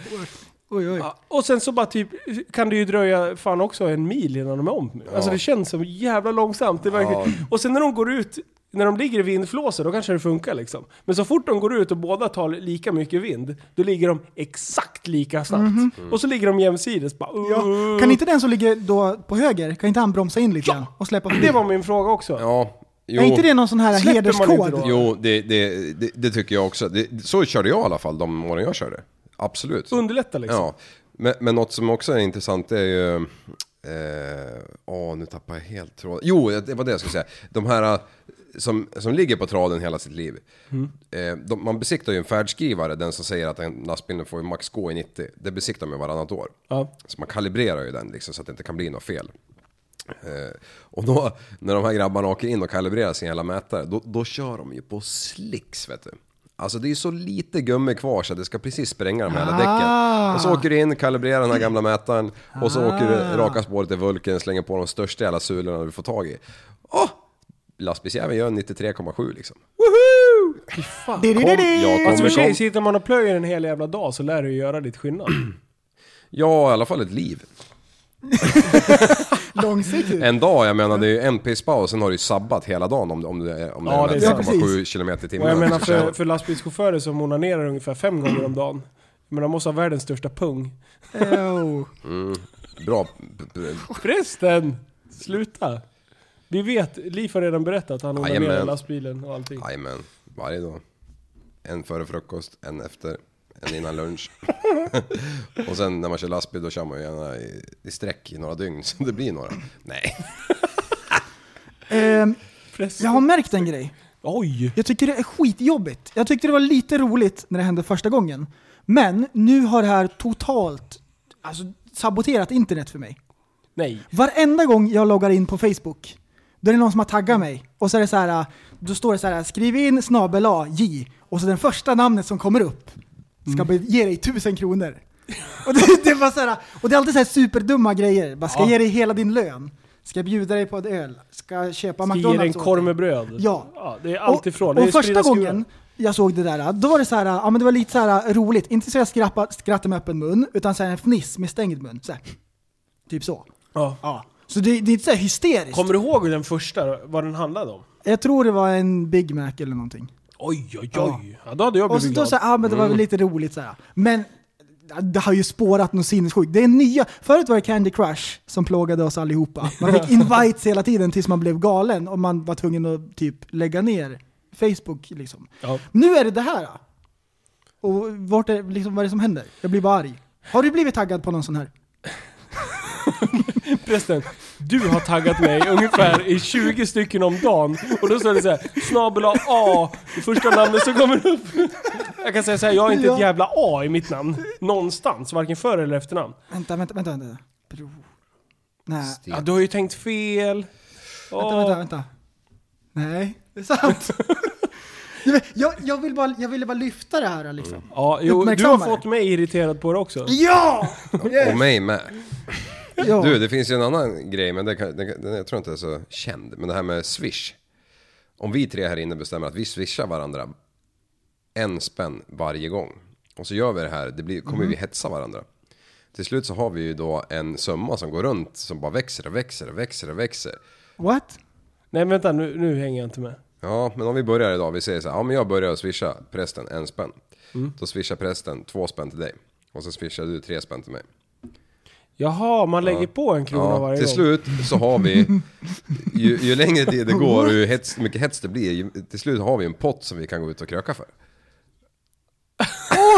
Oj, oj. Ja, och sen så bara typ, kan det ju dröja fan också en mil innan de är om. Alltså det känns som jävla långsamt. Det är verkligen. Och sen när de går ut, när de ligger i vindflåsor, då kanske det funkar liksom. Men så fort de går ut och båda tar lika mycket vind, då ligger de exakt lika snabbt. Och så ligger de jämsides bara... Mhm. Mm. Ja. Kan inte den som ligger då på höger, kan inte han bromsa in lite Ja. grann och släppa på? Det var min fråga också. Ja, jo. Är inte det någon sån här Släpper man inte hederskod? då? Jo, det, det, det, det tycker jag också. Det, så körde jag i alla fall de åren jag körde. Absolut. Underlätta liksom. Ja. Men, men något som också är intressant är ju... eh, Åh, nu tappar jag helt tråden. Jo, det var det jag skulle säga. De här eh, som, som ligger på traden hela sitt liv. Mm. Eh, de, man besiktar ju en färdskrivare, den som säger att en lastbil får ju max gå i 90. Det besiktar man ju varannat år. Ja. Så man kalibrerar ju den liksom, så att det inte kan bli något fel. Eh, och då, när de här grabbarna åker in och kalibrerar sin jävla mätare, då, då kör de ju på slicks vet du. Alltså det är ju så lite gummi kvar så det ska precis spränga de här jävla Ah. däcken. Och så åker du in, kalibrerar den här gamla mätaren och så åker Ah. du raka spåret i Vulken, slänger på de största jävla sulorna du får tag i. Åh! Lastbilsjäveln gör 93,7 liksom. Det, det, det, det. Fast jag i och kommer Alltså, för sig, kom. sitter man och plöjer en hel jävla dag så lär du ju göra ditt skillnad. Ja, i alla fall ett liv. Långsiktigt. En dag, jag menar det är ju en pisspaus, sen har du ju sabbat hela dagen om, om det, om det Ja, är det är 93,7 precis. km i timmen. Och jag menar du ska för, köra. för lastbilschaufförer som onanerar ungefär fem gånger om dagen. Men de måste ha världens största pung. Ew. Bra... b- b- Förresten! Sluta! Vi vet, Liv har redan berättat att han onanerar i Jajamän. lastbilen och allting. Jajamän, varje dag. En före frukost, en efter, en innan lunch. och sen när man kör lastbil då kör man ju gärna i, i sträck i några dygn så det blir några. Nej. Ehm, Förresten. jag har märkt en grej. Oj! Jag tycker det är skitjobbigt. Jag tyckte det var lite roligt när det hände första gången. Men nu har det här totalt alltså, saboterat internet för mig. Nej. Varenda gång jag loggar in på Facebook, då är det någon som har taggat mig. Och så är det så här, då står det så här, skriv in snabel A, J. Och så det första namnet som kommer upp ska Mm. be- ge dig tusen kronor. Och det, det, var så här, och det är alltid så här superdumma grejer. Bara, ska Ja. ge dig hela din lön. Ska bjuda dig på ett öl. Ska köpa Ska McDonalds ge dig en åt korv dig. med bröd. Ja. Det är allt ifrån. Det Och, är och första spridda skurar. gången jag såg det där, då var det så här, ja men det var lite så här roligt. Inte så jag skrappade, skrattade med öppen mun, utan så här en fniss med stängd mun. Så här, typ så. Ja. Ja. Så det, det är inte så här hysteriskt. Kommer du ihåg den första, vad den handlade om? Jag tror det var en Big Mac eller någonting. Oj, oj, oj. Ja, då hade jag Och blivit så då glad. så här, ja men det var väl lite roligt så här. Men det har ju spårat något sinnessjukt. Det är nya. Förut var det Candy Crush som plågade oss allihopa. Man fick invites hela tiden tills man blev galen och man var tvungen att typ lägga ner Facebook liksom. Ja. Nu är det det här. då. Och vart är, liksom, vad är det som händer? Jag blir bara arg. Har du blivit taggad på någon sån här? Förresten, du har taggat mig ungefär i 20 stycken om dagen. Och då står det så här, snabel A, det första namnet som kommer upp. Jag kan säga så här, jag har inte ett Ja. jävla A i mitt namn. Någonstans, varken före eller efternamn. Vänta, vänta, vänta. vänta. Bro. Nej. Ja, du har ju tänkt fel. Vänta, Åh. vänta, vänta. Nej, det är sant. Jag vet- jag, jag, vill bara, jag ville bara lyfta det här liksom. Ja, jo, du har Uppmärksamma det. fått mig irriterad på det också. Ja! Och mig med. ja! Du, det finns ju en annan grej, men det kan, det, kan- den, jag tror inte är så känd. Men det här med swish. Om vi tre här inne bestämmer att vi swishar varandra en spänn varje gång. Och så gör vi det här, det blir, kommer vi hetsa varandra. Till slut så har vi ju då en summa som går runt som bara växer och växer och växer och växer. What? Nej, vänta, nu, nu hänger jag inte med. Ja, men om vi börjar idag, vi säger så här, ja men jag börjar att swisha prästen en spänn. Då swishar prästen två spänn till dig. Och så swishar du tre spänn till mig. Jaha, man lägger på en krona Ja, varje till gång. slut så har vi, ju, ju längre tid det går och ju hets, mycket hets det blir, ju, till slut har vi en pott som vi kan gå ut och kröka för.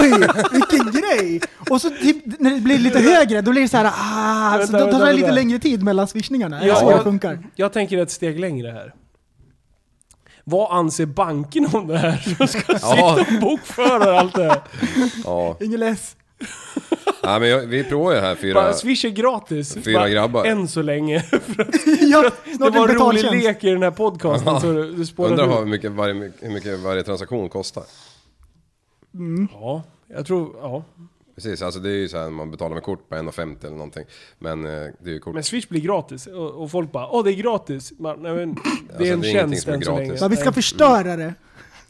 Oj, vilken grej! Och så typ, när det blir lite högre, då blir det så här, ah, så Vänta, då tar vänta, det lite vänta. längre tid mellan swishningarna. Ja, Ja, så det jag- funkar. Jag tänker ett steg längre här. Vad anser banken om det här? De ska Ja, sitta och bokföra allt det här. ja. Ingen less. ja men jag, vi provar ju här fyra... Bara, Swish är gratis. Fyra Bara, grabbar. Än så länge. Ja, Det snart var en en rolig betaltjänst. lek i den här podcasten så du, du Undrar spårade hur ur. mycket, varje, hur mycket varje transaktion kostar. Ja, jag tror... Ja. Precis, alltså det är ju så här man betalar med kort på 1,50 eller någonting. Men eh, det är ju kort. Men Swish blir gratis och, och folk bara åh det är gratis. Man, nej, men, det är Alltså, det är en ingenting tjänst som är än så gratis. länge. Ja, vi ska förstöra det.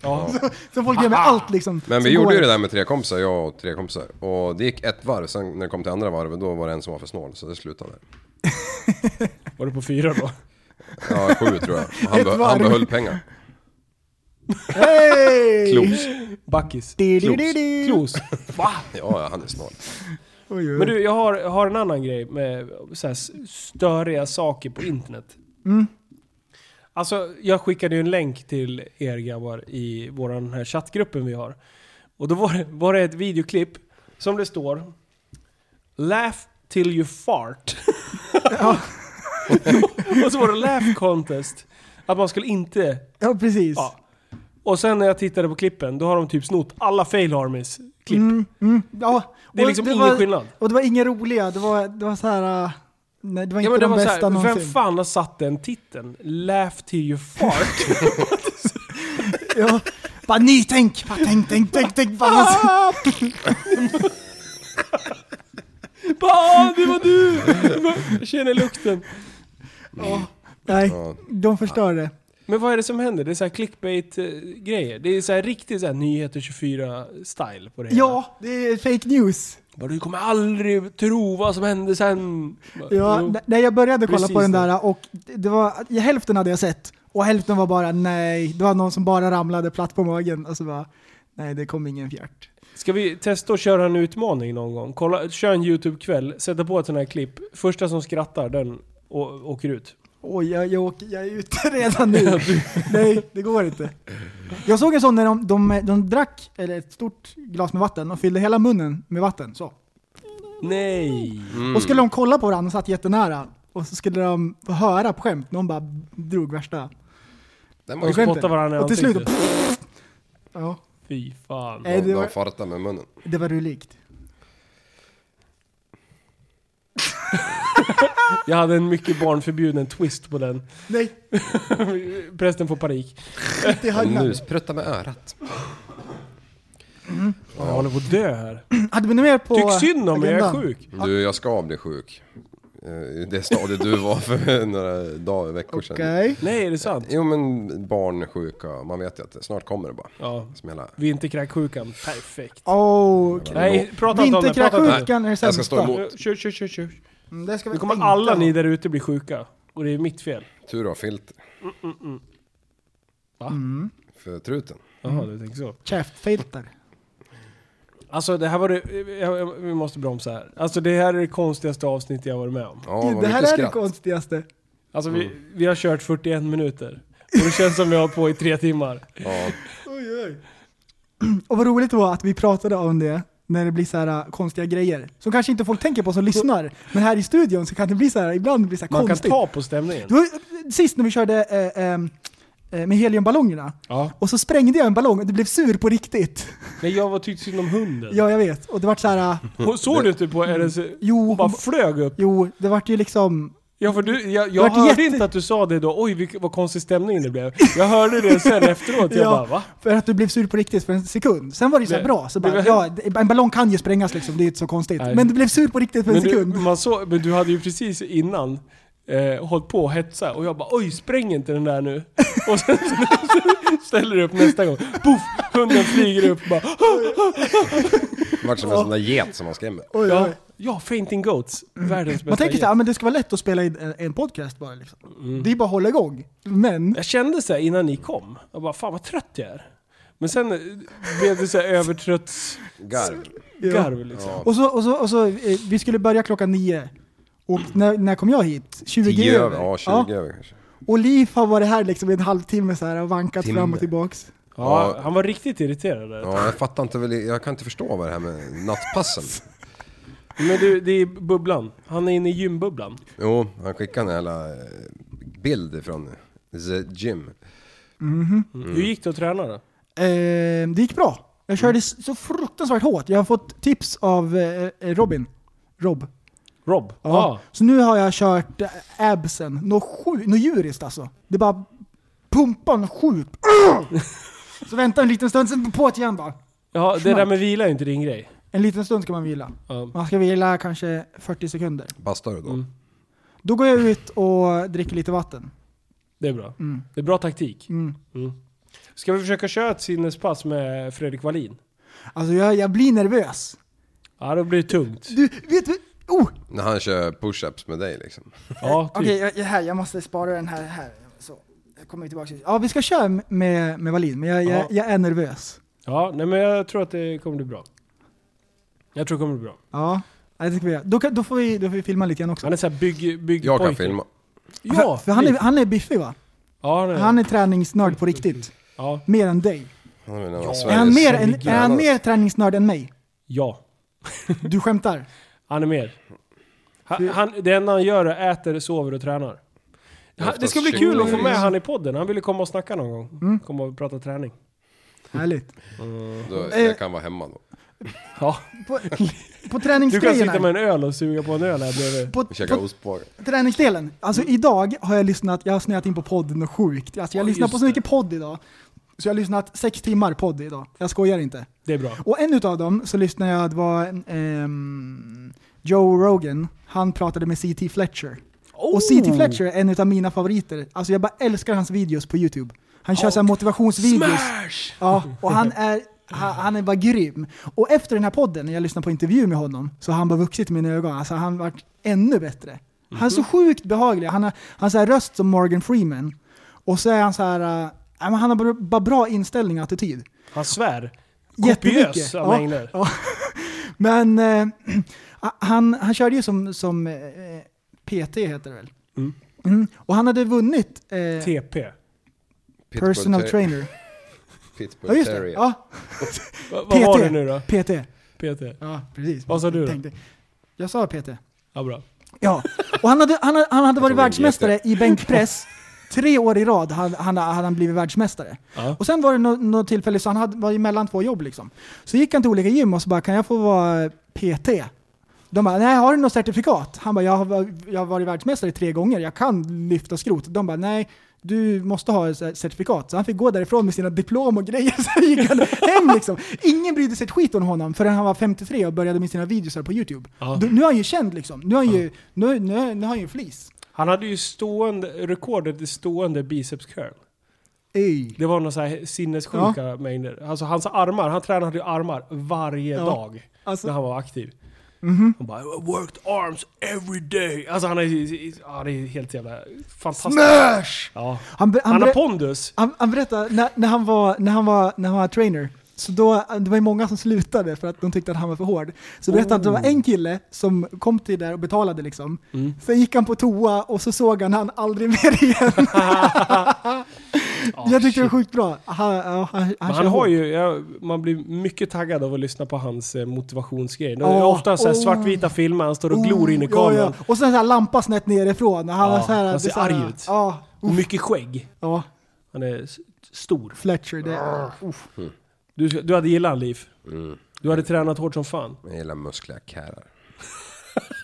ja. Så folk gör med allt liksom. Men vi som gjorde går. ju det där med tre kompisar, jag och tre kompisar. Och det gick ett varv, sen när det kom till andra varvet då var det en som var för snål, så det slutade där. Var det på fyra då? Ja, sju tror jag. Och Han, Ett be, varv. han behöll pengar. Hey! Klos. Backis. Du, du, Klos. du, du. Klos. Ja, han är snål. Oj, oj. Men du, jag har, jag har en annan grej med så här, s- störiga saker på internet. Alltså, jag skickade ju en länk till er grabbar i våran här chattgruppen vi har. Och då var det, var det ett videoklipp som det står Laugh till you fart. och så var det laugh contest. Att man skulle inte Ja, precis. Ja. och sen när jag tittade på klippen, då har de typ snott alla fail harmies klipp. Mm, Ja, Det är och liksom det ingen var- skillnad. Och det var inga roliga, det var, det var så här. äh, Nej, det var Ja inte men det de var bästa såhär, vem någonsin. fan har satt den titeln? Laugh till you fart. Ja, Bara nytänk! Bara tänk, tänk, tänk, tänk! Bara, Ah! Bah, det var du! Jag känner lukten. nej, Ja. de förstör det. Men vad är det som händer? Det är så här clickbait-grejer. Det är så här riktigt så här nyheter 24-style på det hela. Ja, det är fake news. Bara, du kommer aldrig tro vad som hände sen. Bara, Ja, jo. n- när jag började kolla Precis på den det. där och det det var, ja, hälften hade jag sett och hälften var bara nej, det var någon som bara ramlade platt på magen och så bara nej, det kom ingen fjärt. Ska vi testa att köra en utmaning någon gång? Kolla, kör en YouTube-kväll, sätta på ett sånt här klipp. Första som skrattar, den å- åker ut. Oj, jag, jag, åker, jag är ute redan nu. nej, det går inte. Jag såg en sån när de, de, de drack eller ett stort glas med vatten och fyllde hela munnen med vatten. Så. Nej! Och skulle de kolla på varandra och satt jättenära och så skulle de få höra på skämt, någon bara drog värsta. Den var De ju spottar varandra i Och till slut- ansiktet. Ja, Fy fan. Nej, det De var- var... fartar med munnen. det var rulikt. Jag hade en mycket barnförbjuden twist på den. Nej, Prästen får panik. inte i Nu högland. sprutta med örat. Jag håller på att dö här. Hade vi något mer på Tyck synd om mig, jag är agendan? sjuk. Du, jag ska bli sjuk. Eh, i Det stadiet du var för några dagar, veckor sedan. Okej. Nej, är det sant? Jo men barn är sjuka, man vet ju att det snart kommer det bara. Ja. Smälla. Vinterkräksjukan, perfekt. Åh, Okej. Nej, prata inte om det. Prata inte om Vinterkräksjukan är det Jag ska stå sämsta. emot. det. Kör, kör, kör, kör. Mm, Det ska vi Nu kommer inte alla ha. ni där ute bli sjuka. Och det är mitt fel. Tur att ha filter. Mm, Va? För truten. Jaha, du tänker så. Käftfilter. Alltså det här var det... jag- jag- Vi måste bromsa här. Alltså det här är det konstigaste avsnittet jag varit med om. Ja, vad det här är mycket det skratt. konstigaste. Alltså vi, vi har kört 41 minuter. Och det känns som vi har hållit på i tre timmar. Ja, Oj, oj. Och vad roligt det var att vi pratade om det när det blir så här äh, konstiga grejer. Som kanske inte folk tänker på som lyssnar. Men här i studion så kan det bli så här, ibland blir det så här Man kan konstigt. ta på stämningen. Det var ju- äh, sist när vi körde eh, eh, eh, med heliumballongerna. Ja. Och så sprängde jag en ballong och det blev sur på riktigt. Men jag var tyckt synd om hunden. Ja, jag vet. Och det vart så här. äh, Hon såg du inte på hennes... Jo, Hon bara hon- flög upp. jo, det vart ju liksom... Ja, för du, jag jag Vart hörde jätte- inte att du sa det då. Oj, vilk- vad konstig stämning det blev. Jag hörde det sen efteråt. Jag Ja. bara, va? För att du blev sur på riktigt för en sekund. Sen var det ju så här Det- bra, så det bara, ja, var- en ballong kan ju sprängas liksom, det är ju inte så konstigt. Nej. Men du blev sur på riktigt för en Men du, sekund. man såg, men du hade ju precis innan eh, hållit på och hetsa och jag bara oj spräng inte den där nu. Och sen ställer du upp nästa gång. Poff! Hunden flyger upp bara. vart som en sån där get som man skrämmer. Oj, Ja, oj. ja Fainting Goats. Världens Man bästa Mm. tänker gäng. så här, ja, men det ska vara lätt att spela in en, en podcast bara liksom. Mm. Det är bara att hålla igång. Men, Jag kände så här innan ni kom. Jag bara fan vad trött jag är. Men sen eh, blev det så här övertröttsgarv Garv. liksom. Ja. och så, och så, och så eh, vi skulle börja klockan nio. Och när, när kom jag hit? 20 10 över? över. Ja, 20 över kanske. Och Liv har varit här liksom i en halvtimme så här och vankat Timme. fram och tillbaks. Ja, Ja. han var riktigt irriterad där. Ja, jag fattar inte väl, jag kan inte förstå vad det här med nattpassen. Men du, det är bubblan. Han är inne i gymbubblan. Jo, han skickade en jävla eh, bild från the gym. Mm. Hur gick det att träna då? Eh, det gick bra. Jag körde s- så fruktansvärt hårt. Jag har fått tips av eh, eh, Robin. Rob. Rob? Ja. Ah. Så nu har jag kört eh, absen, något sju- något djuriskt alltså. Det bara pumpar något sjukt. Så vänta en liten stund, sen på ett igen bara. Ja, det där med vila är ju inte din grej. En liten stund ska man vila. Ja. Man ska vila kanske 40 sekunder. Bastar du då? Mm. Då går jag ut och dricker lite vatten. Det är bra. Det är bra taktik. Mm. Ska vi försöka köra ett sinnespass med Fredrik Wallin? Alltså jag, jag blir nervös. Ja, då blir det tungt. Du, vet du? Oh! Okej, När han kör push-ups med dig liksom. Ja, typ. jag, jag, här, jag måste spara den här. här. Så. Jag kommer tillbaka. till- Ja, vi ska köra med, med Valin, men jag, Ja. jag, jag är nervös. Ja, nej men jag tror att det kommer bli bra. Jag tror det kommer bli bra. Ja, Ja, det ska vi göra. Då, kan, då, får vi, då får vi filma lite grann också. Han är såhär bygg, byggpojke. Jag kan filma. Ja! för, för han, är, Liv. han är biffig va? ja, nej. Han är träningsnörd på riktigt. ja, Mer än dig. Han är, väl en av Är Sveriges han, mer, än, är han tränare. mer träningsnörd än mig? ja. Du skämtar? Han är med. Han, han, det enda han gör är äter, sover och tränar. Han, det ska bli kul att få med han i podden. Han ville komma och snacka någon gång. Komma och prata träning. Härligt. Då, Eh. jag kan vara hemma då. Ja. På, på Du kan sitta träningsgrejerna. med en öl och suga på en öl här bredvid. På, Och käka på ostbågar. träningsdelen. Alltså idag har jag lyssnat, jag har snöat in på podden och sjukt. Alltså jag Ja, lyssnar på just så det. mycket podd idag. Så jag har lyssnat sex timmar podd idag. Jag skojar inte. Det är bra. Och en utav dem så lyssnade jag, det var ehm, Joe Rogan. Han pratade med C.T. Fletcher. Och C.T. Fletcher är en utav mina favoriter. Alltså jag bara älskar hans videos på YouTube. Han kör såhär motivationsvideos. Smash! Ja, och han är, han, han är bara grym. Och efter den här podden, när jag lyssnade på intervju med honom, så har han bara vuxit i mina ögon. Alltså han har varit ännu bättre. Han är så sjukt behaglig. Han har, han har så här röst som Morgan Freeman. Och så är han så här, äh, ja, men han har bara- bara bra inställning och attityd. Han svär. Kopiös Jättemycket. av Ja, mängder. ja. Men eh, han, han körde ju som, som eh, PT heter det väl? Mm. Mm. Och han hade vunnit eh, TP. Pitbull personal Ter- trainer. Pitbull Ja just det. Terrier. Ja, Va, vad PT. var det nu då? PT. PT. Ja, precis. Vad sa du då? Tänkte- Jag sa PT. Ja, bra. Ja, och han hade, han hade, han hade tror varit det är världsmästare i bänkpress. Tre år i rad hade han, hade han blivit världsmästare. Ja. Och sen var det nå- något tillfälle, så han hade, var ju mellan två jobb liksom. Så gick han till olika gym och så bara, kan jag få vara PT? De bara, nej har du något certifikat? Han bara, jag har, va- jag har varit världsmästare tre gånger, jag kan lyfta skrot. De bara, nej du måste ha ett cer- certifikat. Så han fick gå därifrån med sina diplom och grejer. Så gick han hem liksom. Ingen brydde sig ett skit om honom förrän han var 53 och började med sina videos här på YouTube. Ja. Då- Nu är han ju känd liksom. Nu har han ju, nu, nu, nu har han ju en flis. Han hade ju stående, rekordet i stående biceps curl. Ej. Det var några så här sinnessjuka mängder. Alltså hans armar, han tränade ju armar varje Ja. dag Alltså- Mhm. när han var aktiv. Han bara "I “worked arms every day”. Alltså han är, ju- ja, det är helt jävla fantastiskt. Smash! Ja. Han, be- han, Han har berä- pondus. han, han berättade, när, när, han var, när, han var, när han var trainer, så då, det var ju många som slutade för att de tyckte att han var för hård. Så berättade han att det var Oh. en kille som kom till där och betalade liksom. Mm. Sen gick han på toa och så såg han han aldrig mer igen. Jag tyckte det var sjukt bra. Han, ja, han, han, Oh, Men kör han har hårt. ju, ja, man blir mycket taggad av att lyssna på hans eh, motivationsgrej. Det är Ja. ofta så här Oh. svartvita filmer, han står och glor in i Oh, ja, kameran. ja. Och sen så här lampa snett nerifrån. Han, Ja, har så här, han det är ser så här, arg ut. Ja, Och mycket skägg. ja. Han är s- stor. Fletcher, det Ah. är... Du, du hade gillat han, Liv. Du hade tränat hårt som fan. Jag gillar muskliga kärar.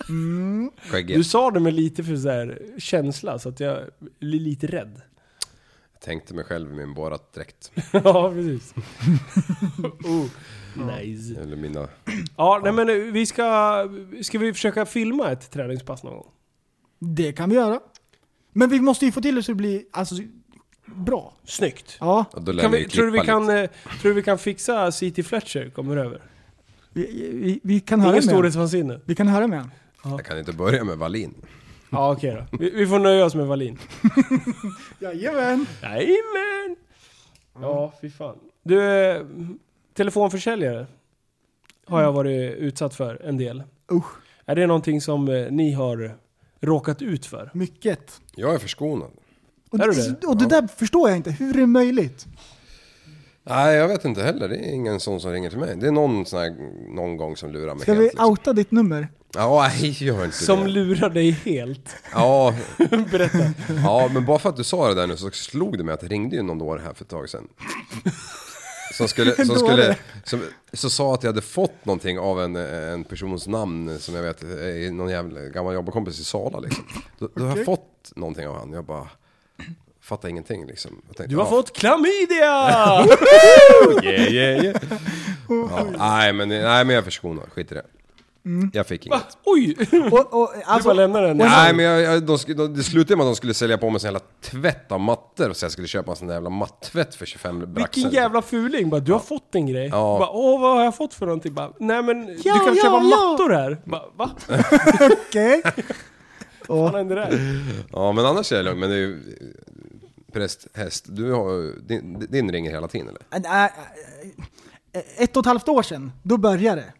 Mm. Du Skäggigt. sa det med lite för så här känsla, så att jag blir lite rädd. Jag tänkte mig själv i min borat direkt. ja, precis. oh, nice. Eller mina... Ja, nej men eh, vi ska... Ska vi försöka filma ett träningspass någon gång? Det kan vi göra. Men vi måste ju få till det så det blir alltså, bra. Snyggt. Ja, Och då lär Kan vi, vi, ju tror, du vi klippa kan, lite. eh, tror du vi kan fixa C.T. Fletcher kommer över? vi, vi, vi kan höra Ingen med honom. storhetsvansinne. Vi kan höra med honom. Jag kan inte börja med Valin. Ja, okej då. Vi, vi får nöja oss med Wallin. Jajamän! Jajamän! Ja, fy fan. Mm. Du, eh, telefonförsäljare har jag varit utsatt för en del. Mm. Usch, Är det någonting som eh, ni har råkat ut för? mycket. Jag är förskonad. Och, Är du det? och det där förstår jag inte. Hur är det möjligt? Nej, jag vet inte heller. Det är ingen sån som ringer till mig. Det är någon sån här, någon gång som lurar mig Ska helt. vi liksom. outa ditt nummer? Ja, nej, gör inte Som det. lurar dig helt. Ja, Berätta. ja, men bara för att du sa det där nu så slog det mig att det ringde ju någon dåre här för ett tag sedan. Som skulle, som Dåre. skulle, som, så sa att jag hade fått någonting av en, en persons namn som jag vet är någon jävla gammal jobbarkompis i Sala liksom. Då, då har jag fått någonting av han. Jag bara fattar ingenting liksom. Jag tänkte, Du har ja, fått klamydia! Yeah, yeah, yeah. Oh, ja, nej, men, nej men jag är förskonad, skit i det. Jag fick Mm. Va? inget. Oj! Och, och, alltså, du bara lämnar den. Nej men jag, jag, de, sk- de, det slutade med att de skulle sälja på mig sån jävla tvätt av mattor så jag skulle köpa en sån där jävla mattvätt för 25 braxar. Vilken jävla fuling! Bara, du har fått en grej. Ja. Bara, Åh, vad har jag fått för någonting? Bara, Nej men, du Ja, kan ja, köpa ja. mattor här. Bara, Va? Okej. Vad hände där? Ja men annars är det lugnt, men det är ju... Präst, häst, du har, ju- din, din ringer hela tiden eller? Äh, äh, äh, Ett och ett halvt år sedan, då började det.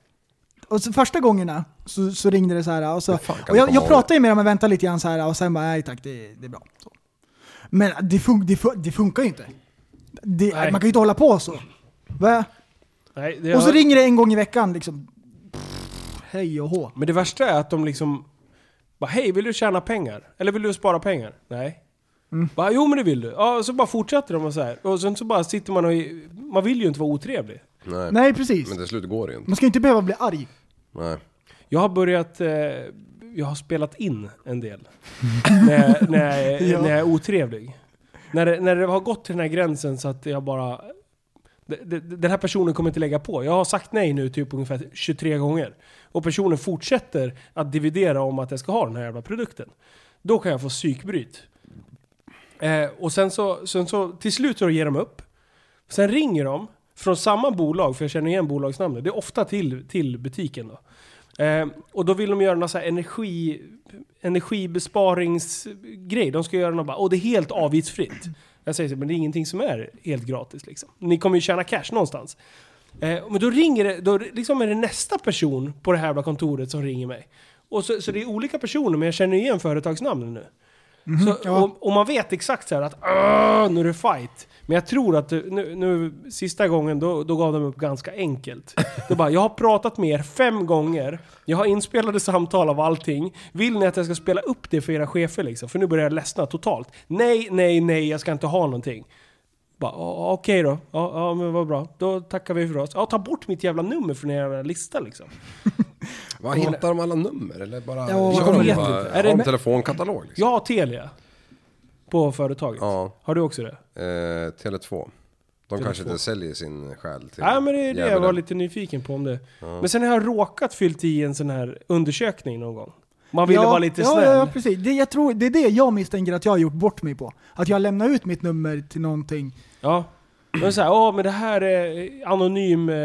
Och så första gångerna så, så ringde det så här och, så, fan kan och det jag, komma jag av? pratade ju med dem och väntade lite grann så här och sen bara nej tack, det, det är bra. Så. Men det, fun, det, fun, det funkar ju inte. Det, Nej. man kan ju inte hålla på så. Va? Nej, det Och så har- ringer det en gång i veckan liksom. Pff, Hej och hå. Men det värsta är att de liksom... Bara, hej, vill du tjäna pengar? Eller vill du spara pengar? Nej. Bara, jo men det vill du. Ja, så bara fortsätter de och så här. Och sen så bara sitter man och... Man vill ju inte vara otrevlig. Nej. Nej precis. Men till slut går det ju inte. Man ska ju inte behöva bli arg. Mm. Nej. Jag har börjat... Eh, jag har spelat in en del. när, jag- när, jag- Ja. när jag är otrevlig. När det, när det har gått till den här gränsen så att jag bara... det- det- Den här personen kommer inte lägga på. Jag har sagt nej nu typ ungefär 23 gånger. Och personen fortsätter att dividera om att jag ska ha den här jävla produkten. Då kan jag få psykbryt. Eh, och sen så, sen så, till slut så ger de upp. Sen ringer de från samma bolag, för jag känner igen bolagsnamnet. Det är ofta till, till butiken då. Eh, och då vill de göra någon så här energi, energibesparingsgrej. De ska göra något bara, och det är helt avgiftsfritt. Jag säger så, men det är ingenting som är helt gratis liksom. Ni kommer ju tjäna cash någonstans. Eh, men då ringer det, då liksom är det nästa person på det här jävla kontoret som ringer mig. Och så, så det är olika personer, men jag känner igen företagsnamnen nu. så, och, och man vet exakt så här att "Åh, nu är det fight. Men jag tror att nu, nu sista gången, då, då gav de upp ganska enkelt. Då bara, jag har pratat med er fem gånger, jag har inspelade samtal av allting. Vill ni att jag ska spela upp det för era chefer liksom? För nu börjar jag ledsna totalt. Nej, nej, nej, jag ska inte ha någonting. Bara, "Ja, okej då. Ja, ja, men vad bra. Då tackar vi för oss. Ja, ta bort mitt jävla nummer från er jävla lista liksom. Vad hittar de alla nummer? Eller bara... Ja, kör vad de vet bara- inte. Är Har det- de telefonkatalog? Liksom? Jag har Telia. På företaget. Ja. Har du också det? Eh, Tele2. De kanske inte säljer sin själ till Nej men det är det jag djävulen. var lite nyfiken på om det. Men sen har jag råkat fyllt i en sån här undersökning någon gång. Man ville vara lite ja, snäll. Ja, ja, precis. Det, jag tror, det är det jag misstänker att jag har gjort bort mig på. Att jag lämnar ut mitt nummer till någonting. Ja. Men så här, åh men det här är anonym eh,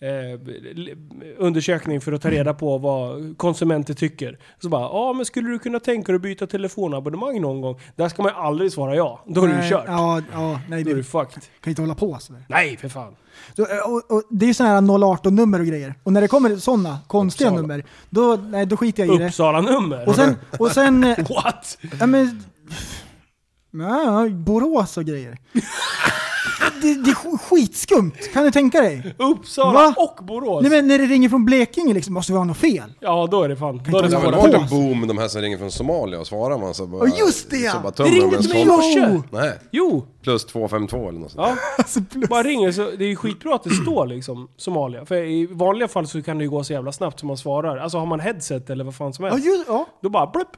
eh, l- undersökning för att ta reda på vad konsumenter tycker. Så bara, ja men skulle du kunna tänka dig att byta telefonabonnemang någon gång? Där ska man ju aldrig svara ja. Då är det ju Nej, kört. Ja, ja, nej, Då är du det kan fucked. ju inte hålla på sådär. Nej för fan. Så, eh, och, och, det är ju sådana här 018-nummer och grejer. Och när det kommer sådana konstiga Uppsala. nummer, då, nej, då skiter jag i det. Uppsala-nummer. Och sen, och sen, eh, What? ja men... Ja, Borås och grejer. Det, det är sk- skitskumt, kan du tänka dig? Uppsala Va? och Borås? Nej men när det ringer från Blekinge liksom, måste vi ha något fel? Ja då är det fan. Då är det Det har svåra väl Hålla varit på. en boom de här som ringer från Somalia och svarar man så bara... Ja just det Så bara ja! Det tömmer de ringde ens till mig i koll. morse! Nej, Jo! plus 252 eller något sånt. Ja. Alltså, plus- Bara ringer så, det är ju skitbra att det står liksom Somalia. För i vanliga fall så kan det ju gå så jävla snabbt som man svarar. Alltså har man headset eller vad fan som Ja, helst. just, ja. Då bara blupp!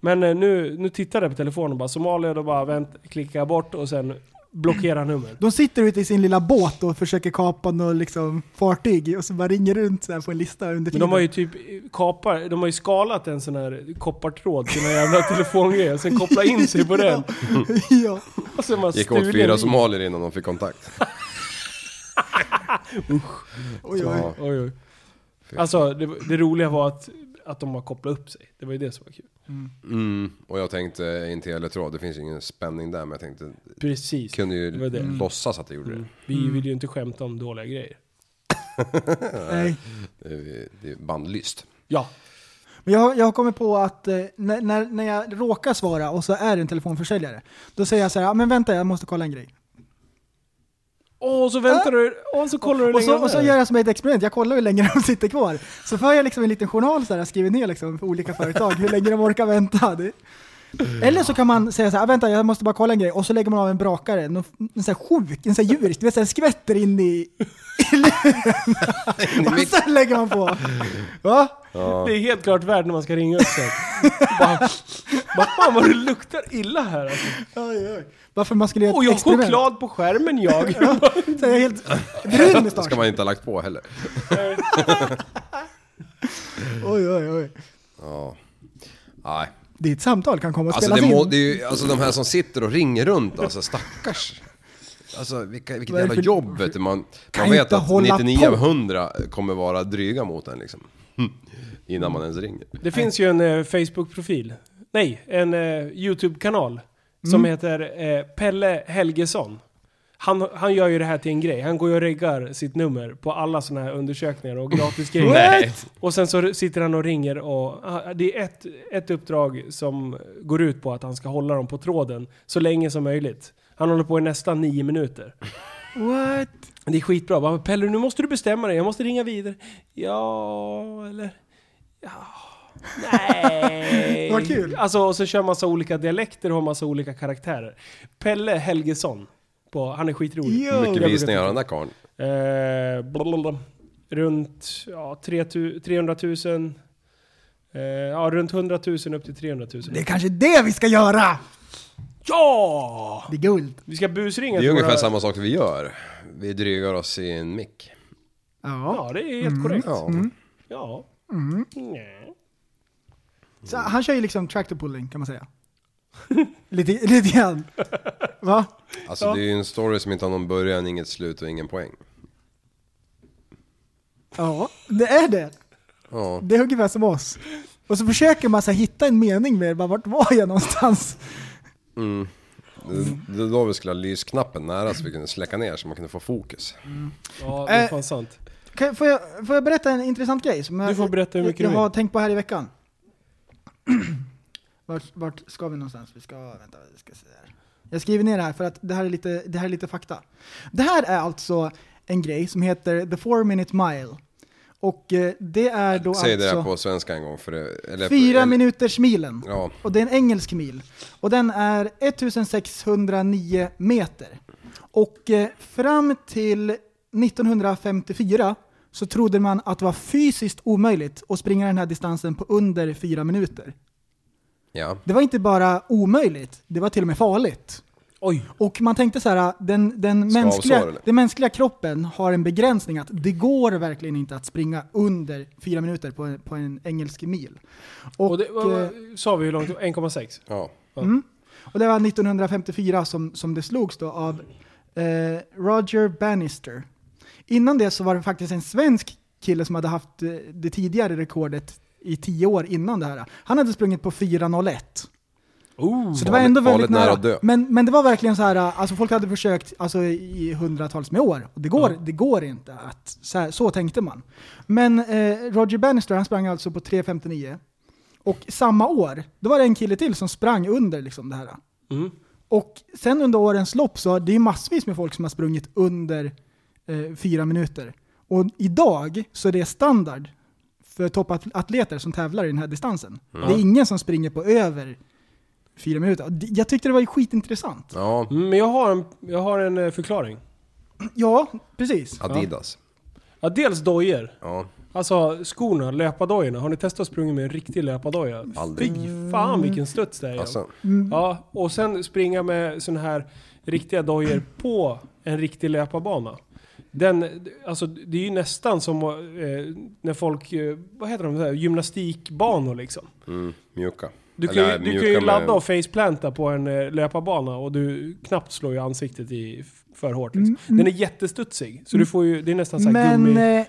Men eh, nu, nu tittar jag på telefonen och bara Somalia, då bara vänt, klicka bort och sen blockera nummer. De sitter ute i sin lilla båt och försöker kapa något liksom, fartyg och så bara ringer runt så här på en lista under Men tiden. de har ju typ kapar, de har ju skalat en sån här koppartråd till någon jävla telefongrej och sen kopplat in sig på den. ja. Och sen bara Gick åt stulen fyra i. somalier innan de fick kontakt. Oj, oj. Ja. Oj, oj. Alltså det, var- det roliga var att, att de har kopplat upp sig. Det var ju det som var kul. Mm. Och jag tänkte, eh, inte teletråd, det finns ju ingen spänning där men jag tänkte, Precis. kunde Det var ju det. Mm. låtsas att det gjorde det. Mm. Vi vill ju inte skämta om dåliga grejer. Nej. Det är- Eh, Det är bandlyst. Ja. Men jag, jag har kommit på att eh, när, när, när jag råkar svara och så är det en telefonförsäljare, då säger jag så här, "Ja, men vänta jag måste kolla en grej. Och så väntar du, och så kollar du Och längre så, och så ner. gör jag som ett experiment, jag kollar hur länge de sitter kvar. Så för jag liksom en liten journal så här, jag skriver ner liksom för olika företag, hur länge de orkar vänta. Det. Eller så kan man säga så här, "Ah, vänta jag måste bara kolla en grej, och så lägger man av en brakare, en, en så här sjuk, en så här djurisk, du vet så här skvätter in i... i och sen lägger man på. Va? Det är helt klart värt när man ska ringa upp sen. bara, bara, fan vad det luktar illa här alltså. Oj, oj. Varför man skulle göra Och ett jag har experiment. choklad på skärmen jag. Så jag är helt brun Det mustasch. ska man inte ha lagt på heller. Oj, oj, oj. Ja. Nej. Ditt samtal kan komma att Alltså, spelas det må, in. det är ju, alltså de här som sitter och ringer runt, alltså stackars. Alltså vilka, vilket Vad är det för- jävla jobb vet du. Man, man ju vet inte att hålla 99 av på. 100 kommer vara dryga mot en liksom. Innan man ens ringer. Det finns ju en eh, Facebook-profil. Nej, en eh, YouTube-kanal. Som heter eh, Pelle Helgesson. Han, han gör ju det här till en grej. Han går ju och reggar sitt nummer på alla sådana här undersökningar och gratis grejer. Nej. Och sen så sitter han och ringer och ah, det är ett, ett uppdrag som går ut på att han ska hålla dem på tråden så länge som möjligt. Han håller på i nästan nio minuter. What? Det är skitbra. Bara, Pelle, nu måste du bestämma dig. Jag måste ringa vidare. Ja, eller... Ja. Nej. Vad kul. Alltså, och så kör massa olika dialekter och har massa olika karaktärer. Pelle Helgesson. På, han är skitrolig. Jo. Hur Jag mycket brukar visningar har titta den där karln? Eh, blablabla. Runt ja, 3 tu- 300 000. Eh, ja, runt 100 000 upp till 300 000. Det är kanske det vi ska göra! Ja! Det är guld. Vi ska busringa Det är till ungefär våra- samma sak vi gör. Vi drygar oss i en mick. Mm. Ja. Ja, det är helt Mm. korrekt. Ja. Ja. Nej. Så han kör ju liksom tractor pulling kan man säga. lite, lite grann. Va? Alltså det är ju en story som inte har någon början, inget slut och ingen poäng. Ja, det är det. Ja. Det är ungefär som oss. Och så försöker man så här, hitta en mening med det. Bara, Vart var jag någonstans? Mm. Det var då vi skulle ha lysknappen nära så vi kunde släcka ner så man kunde få fokus. Ja, det är Eh, fan sant. Kan, får, jag, får jag berätta en intressant grej? Som jag, Du får berätta hur mycket jag, du jag har vill. tänkt på här i veckan. vart, vart ska vi någonstans? Vi ska, vänta, vi ska se här. Jag skriver ner det här för att det här är lite, det här är lite fakta. Det här är alltså en grej som heter The Four Minute Mile. Och eh, det är då Säg det alltså här på svenska en gång för det, eller, fyra eller- minuters milen. Ja. Och det är en engelsk mil. Och den är 1609 meter. Och eh, fram till 1954 så trodde man att det var fysiskt omöjligt att springa den här distansen på under fyra minuter. Ja. Det var inte bara omöjligt, det var till och med farligt. Oj. Och man tänkte så här, ah, den, den, Skavsår, mänskliga, eller? den mänskliga kroppen har en begränsning att det går verkligen inte att springa under fyra minuter på, en- på en engelsk mil. Och, Och det, vad, eh, vad, sa vi hur långt? 1,6? Ja. Och det var 1954 som, som det slogs då av eh, Roger Bannister. Innan det så var det faktiskt en svensk kille som hade haft eh, det tidigare rekordet i tio år innan det här. Han hade sprungit på 4.01. Oh. Så det var Farligt- ändå väldigt farligt nära nära. att dö. men, men det var verkligen så här, alltså folk hade försökt alltså, i hundratals med år. Och det, går, Ja. det går inte att, så, här, så tänkte man. Men eh, Roger Bannister, han sprang alltså på 3.59. Och samma år, då var det en kille till som sprang under liksom det här. Mm. Och sen under årens lopp så det är massvis med folk som har sprungit under eh, fyra minuter. Och idag så är det standard för toppatleter som tävlar i den här distansen. Mm. Det är ingen som springer på över fyra minuter. Och det- Jag tyckte det var ju skitintressant. Ja. Mm, Men jag har en, jag har en eh, förklaring. Ja, precis. Adidas. Ja, dels dojer. Ja. Alltså skorna, löpardojorna. Har ni testat att springa med en riktig löpardoja? Aldrig. Fy fan vilken studs det är. Mm. Alltså. Ja, och sen springa med sådana här riktiga dojor på en riktig löparbana. Den, alltså, det är ju nästan som eh, när folk, eh, vad heter de, så här, gymnastikbanor liksom. Mm, mjuka. Du kan, ju, Eller du kan mjuka ju med- ladda och faceplanta på en eh, löparbana och du knappt slår ju ansiktet i f- för hårt. Mm, Liksom. Den är jättestudsig, så du får ju, det är nästan så här Men gummi... eh,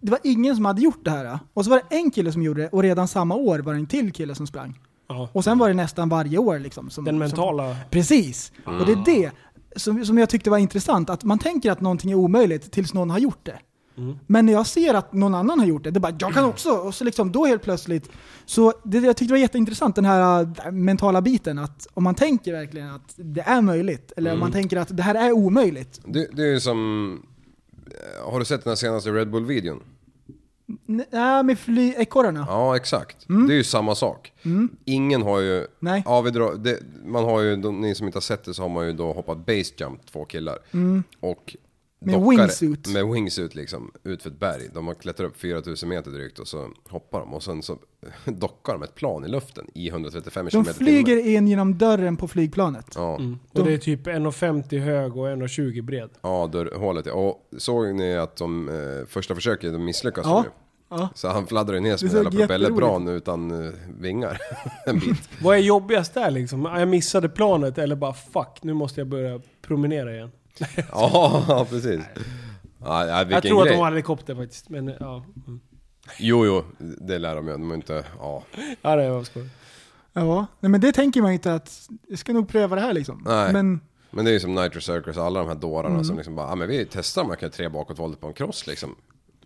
det var ingen som hade gjort det här. Och så var det en kille som gjorde det och redan samma år var det en till kille som sprang. Ja, Och sen var det nästan varje år liksom. Som, den som, mentala... Precis, och Mm. det är det som, som jag tyckte var intressant. Att man tänker att någonting är omöjligt tills någon har gjort det. Mm. Men när jag ser att någon annan har gjort det, det är bara jag kan också. Och så liksom då helt plötsligt. Så det, jag tyckte det var jätteintressant den här äh, mentala biten. Att om man tänker verkligen att det är möjligt, eller om man Mm. tänker att det här är omöjligt. Det, det är ju som... eh, Har du sett den här senaste Red Bull-videon? N- Nej, med fly ekorrarna. Ja, exakt. Mm. Det är ju samma sak. Ingen har ju... Nej. Ja, vi drar, det, man har ju, de, ni som inte har sett det så har man ju då hoppat base jump två killar. Mm. Och Med dockar- wingsuit. Med wingsuit liksom, ut för ett berg. De har klättrat upp 4000 meter drygt och så hoppar de. Och sen så dockar de ett plan i luften i 135 De km flyger in genom dörren på flygplanet. Ja, Och det är typ 1,50 hög och 1,20 bred. ja dörrhålet ja. Och såg ni att de eh, första försöket, de misslyckas Ja. ju. Ja. Så han fladdrar ju ner som Det en såg jävla propellerbran utan eh, vingar. en bit. Vad är jobbigast där liksom? Ah, Jag missade planet eller bara fuck, nu måste jag börja promenera igen. Ja, precis. Ja, ja, vilken jag tror grej. att de har helikopter faktiskt, men eh, ja. Mm. Jo, jo, det lär de ju. De är inte... Ja. Ja, det var skoj. Ja, nej, men det tänker man ju inte att jag ska nog pröva det här liksom. Nej. Men Men det är ju som Nitro Circus och alla de här dårarna Mm. som liksom bara, ja men vi testar man kan göra tre bakåtvolter på en cross liksom.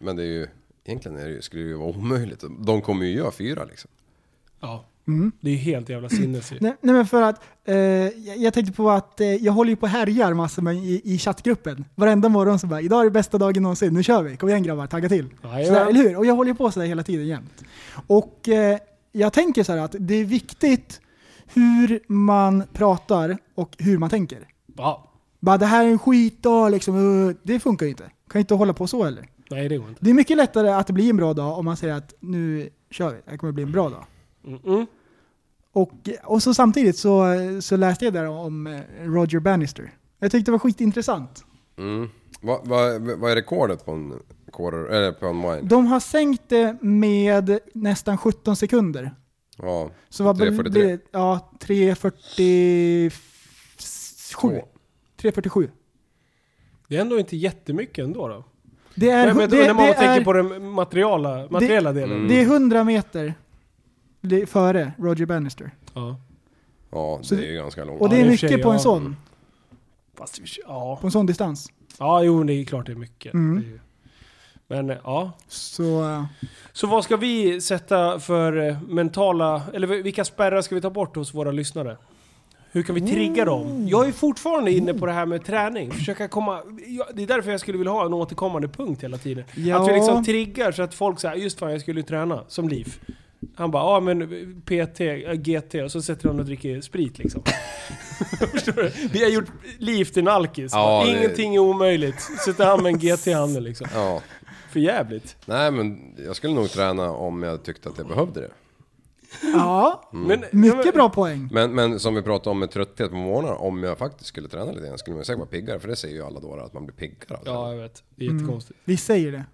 Men det är ju, egentligen är det, ju- skulle det ju vara omöjligt. De kommer ju göra fyra liksom. Ja. Mm. Det är ju helt jävla sinnes ju. Nej, nej men för att, eh, jag, jag tänkte på att eh, jag håller ju på och härjar massor med i, i chattgruppen. Varenda morgon så bara, idag är det bästa dagen någonsin, nu kör vi, kom igen grabbar, tagga till. Jajamän. Sådär, eller hur? Och jag håller ju på sådär hela tiden jämt. Och eh, jag tänker så här att det är viktigt hur man pratar och hur man tänker. Ja. Bara det här är en skitdag liksom, uh, det funkar ju inte. Kan ju inte hålla på så heller. Nej, det går inte. Det är mycket lättare att det blir en bra dag om man säger att nu kör vi, det här kommer bli en bra dag. Mm -mm. Och, och så samtidigt så, så läste jag där om eh, Roger Bannister. Jag tyckte det var skitintressant. Mm. Vad vad- vad är rekordet på en quarter, eller på en mile? De har sänkt det med nästan 17 sekunder. Ja, Så vad 3.43. blir det? Ja, 3.47. Två. 3.47. Det är ändå inte jättemycket ändå då. Det är, Nej, men det, när man det, tänker är, på Mm. den materiala, materiella delen. det är 100 meter li- före Roger Bannister. Ja. Ja, Så det är det- ju ganska långt. Och det i är och för sig, mycket på en ja. sån, Fast, i och för sig- ja. på en sån distans. ja, jo det är klart det är mycket. Mm. Det är ju- Men eh, ja. Så eh, Så vad ska vi sätta för eh, mentala, eller vilka spärrar ska vi ta bort hos våra lyssnare? Hur kan vi trigga Mm. dem? Jag är fortfarande inne på det här med träning. Försöka komma, ja, det är därför jag skulle vilja ha en återkommande punkt hela tiden. Ja. Att vi liksom triggar så att folk säger just fan jag skulle ju träna, som Liv. Han bara, ja men PT, eh, GT, och så sätter han och dricker sprit liksom. Förstår du? Vi har gjort Liv till alkis. Ja, det- Ingenting är omöjligt. Sätter han med en GT i handen liksom. Ja. För jävligt. Nej men jag skulle nog träna om jag tyckte att jag behövde det. ja, Mm. Men, mycket bra poäng. Men, men som vi pratade om med trötthet på morgonen, om jag faktiskt skulle träna lite grann skulle man säkert vara piggare, för det säger ju alla dårar att man blir piggare. av Ja, träning. jag vet. Det Mm. är jättekonstigt. Vi säger det.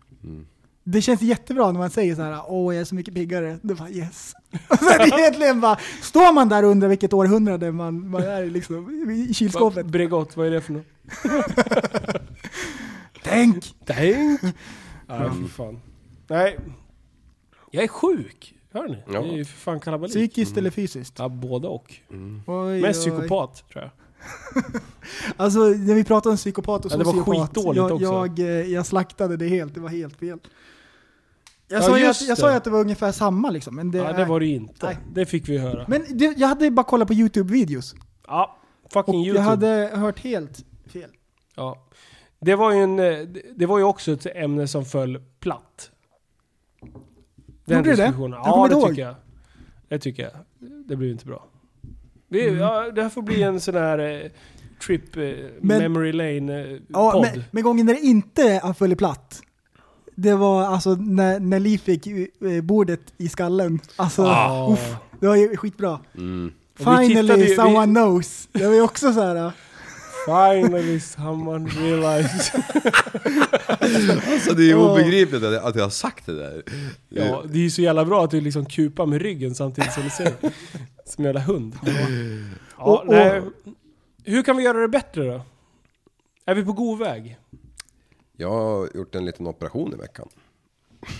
Det känns jättebra när man säger så här, åh jag är så mycket piggare. Det bara yes. Och sen egentligen bara, står man där och undrar vilket århundrade man, man är liksom, i kylskåpet. Bregott, vad är det för något? Tänk! Tänk! Nej, för fan. Nej. Jag är sjuk. Hör ni? Ja. Det är ju för fan kalabalik. Psykiskt eller fysiskt? ja, både och. Mm. Oj, Men oj. psykopat, tror jag. Alltså när vi pratade om psykopat och Ja, det var sociopat, skitdåligt jag, också. Jag, eh, jag slaktade det helt, det var helt fel. Ja, Jag, sa, ju just att, jag det. sa ju att det var ungefär samma liksom, men det, Det, ja, är- det var det ju inte. Nej. Det fick vi höra. Men det, jag hade bara kollat på YouTube-videos, ja, och fucking jag YouTube. hade hört helt fel. Ja. Det, var ju en, eh, det- det var ju också ett ämne som föll platt. Gjorde det det? diskussionen. Jag Ja, kommer det inte tycker jag. Det tycker jag. Det blir ju inte bra. Vi, Mm. ja, det här får bli en sån här eh, trip eh, Men- memory eh, lane-podd. Ja, men, men gången när det inte han föll platt, det var alltså när, när Li fick eh, bordet i skallen. Alltså, Ah. uff, det var ju skitbra. Mm. Och vi tittade ju- Finally vi- someone knows. Det var ju också så här. Finally someone realized. Alltså det är ju Åh. obegripligt att jag, att jag har sagt det där. Eh, Ja, det är ju så jävla bra att du liksom kupar med ryggen samtidigt som du ser det. Som en jävla hund. Ja, Och- och- nej. Hur kan vi göra det bättre då? Är vi på god väg? Jag har gjort en liten operation i veckan.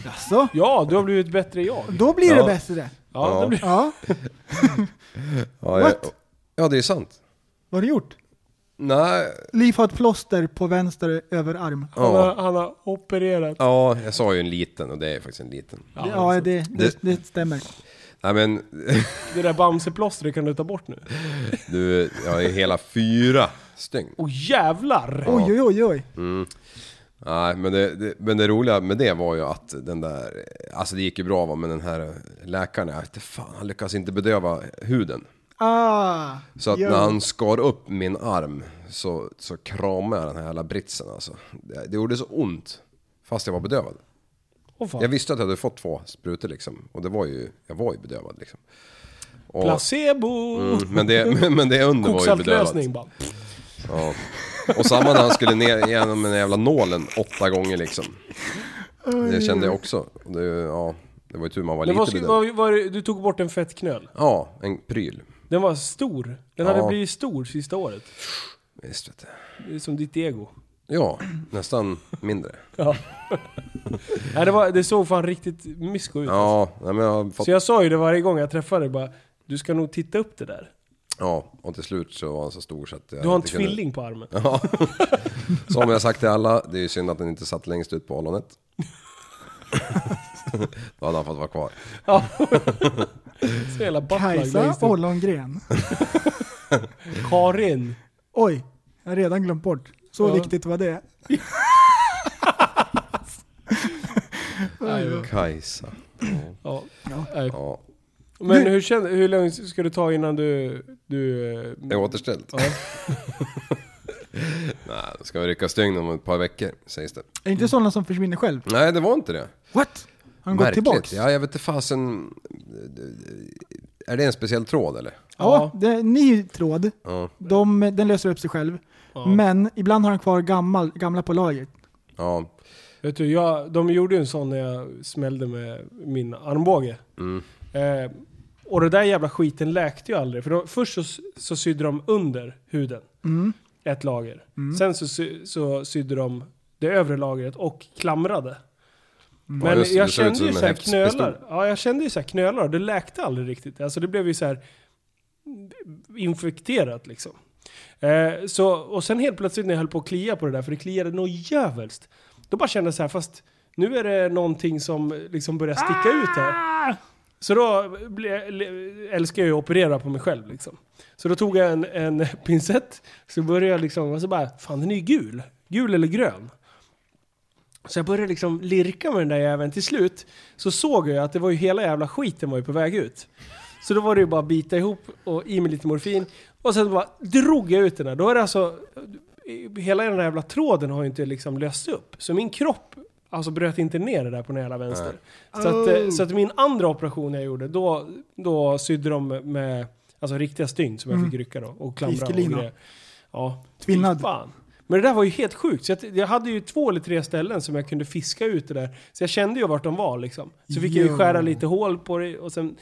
Alltså, Ja, du har blivit bättre jag. då blir det Ja. bättre. Ja, Ja. det blir... Ja, Ja, jag, What? ja det är sant. vad har du gjort? Nej, Liv har ett plåster på vänster överarm. han, har, ja. han har opererat. ja, jag sa ju en liten och det är faktiskt en liten. Ja, alltså. Ja, det, det, det stämmer. Nej men, Det där bamseplåstret kan du ta bort nu. du, jag är hela fyra stygn. Åh jävlar! Oj, oj, oj, oj. Mm. Nej, men det, det, men det roliga med det var ju att den där, alltså det gick ju bra va, men den här läkaren, jag vet inte fan, han lyckas inte bedöva huden. Ah, Så att jo. när han skar upp min arm så, så kramade jag den här jävla britsen alltså. Det, det gjorde så ont, fast jag var bedövad. Åh, fan. Jag visste att jag hade fått två sprutor liksom, och det var ju, jag var ju bedövad liksom. Och, Placebo! Mm, men, det, men, men det under var ju bedövat. Koksaltlösning bara. Ja. Och samma när han skulle ner genom den jävla nålen åtta gånger liksom. Det kände jag också. Och Det, ja, det var ju tur man var Men lite vad, skulle- bedövad. vad, vad, du tog bort en fett knöl. Ja, en pryl. Den var stor. Den Ja. hade blivit stor sista året. Visst vet du. Det är som ditt ego. Ja, nästan mindre. Ja. Nej, det, var, det såg fan riktigt mysko ut. Ja, nej, men jag har fått... Så jag sa ju det varje gång jag träffade dig bara, du ska nog titta upp det där. Ja, och till slut så var han så stor så att jag Du har en inte kunde- tvilling på armen. Ja. Som jag sagt till alla, det är ju synd att den inte satt längst ut på ollonet. Då hade han fått vara kvar. Ja. Så jävla buttplug Kajsa längst upp. Ollongren. Karin. Oj, jag har redan glömt bort. Så Ja. viktigt var det. Kajsa. Ja. Ja. Nej. Ja, Men Du- hur, känner, hur lång ska du ta innan du... du eh, det är återställt. ja. Nej, då ska vi rycka stygn om ett par veckor, sägs det. Är det Mm. inte sådana som försvinner själv? Nej, det var inte det. What? Har han gått tillbaks? Ja, jag vet inte fasen. Är det en speciell tråd eller? Ja. Ja, det är en ny tråd. Ja. De, den löser upp sig själv. Men ibland har han kvar gammal, gamla på lagret. Ja. Vet du, jag, de gjorde ju en sån när jag smällde med min armbåge. Eh, och det där jävla skiten läkte ju aldrig. För då, först så, så sydde de under huden. Ett lager. Sen så, sy- så sydde de det övre lagret och klamrade. Men Ja, just det. jag Det ser kände ut som ju en såhär häftpistol. knölar. Ja, jag kände ju såhär knölar och det läkte aldrig riktigt. Alltså det blev ju såhär infekterat liksom. Eh, så, och sen helt plötsligt när jag höll på att klia på det där, för det kliade nog jävligt. Då bara kände jag så här, fast nu är det någonting som liksom börjar sticka ut här. Så då ble, le- älskar jag ju att operera på mig själv liksom. Så då tog jag en, en pincett, så började jag liksom, och så bara, fan den är ju gul. Gul eller grön. Så jag började liksom lirka med den där jäveln. Till slut så såg jag att det var ju hela jävla skiten var ju på väg ut. Så då var det ju bara att bita ihop och i med lite morfin. Och sen bara drog jag ut den här. Då är det alltså... Hela den här jävla tråden har ju inte liksom löst upp. Så min kropp alltså bröt inte ner det där på den jävla vänster. Så, att, eh, så att min andra operation jag gjorde, då, då sydde de med alltså riktiga stygn som jag fick rycka då. Och klamra och Fiskelina. grejer. Ja. Tvinnad. Fy Fan. Men det där var ju helt sjukt. Så jag, jag hade ju två eller tre ställen som jag kunde fiska ut det där. Så jag kände ju vart de var liksom. Så fick jag ju Jo. skära lite hål på det och sen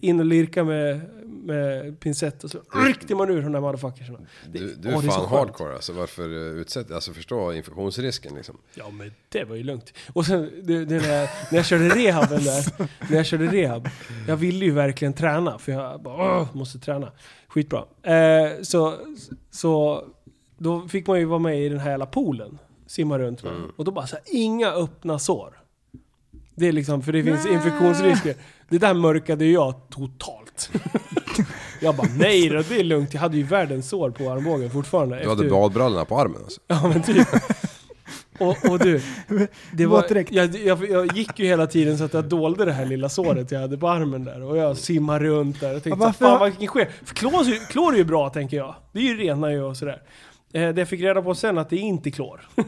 in och lirka med, med pincett och så ryckte man ur de där motherfuckerserna. Du, du Åh, är det är så fan skönt. hardcore alltså. Varför eh, utsätta, alltså förstå infektionsrisken liksom. Ja men det var ju lugnt. Och sen det, det när, jag, när jag körde rehaben där. När jag körde rehab. Jag ville ju verkligen träna för jag bara "Åh, måste träna. Skitbra. Eh, så, så då fick man ju vara med i den här jävla poolen. Simma runt Mm. med. Och då bara så här, inga öppna sår. Det är liksom, för det finns infektionsrisker. Det där mörkade ju jag totalt. Jag bara nej då, det är lugnt. Jag hade ju världens sår på armbågen fortfarande. Du hade efter- badbrallorna på armen alltså. Ja men typ. Och, och du, det var, Våtdräkt. jag, jag, jag gick ju hela tiden så att jag dolde det här lilla såret jag hade på armen där. Och jag simmade runt där och tänkte Ja, varför- fan vad vilken sker. För klor, är ju- klor är ju bra tänker jag. Det är ju rena ju och sådär. Eh, det jag fick reda på sen att det är inte klor.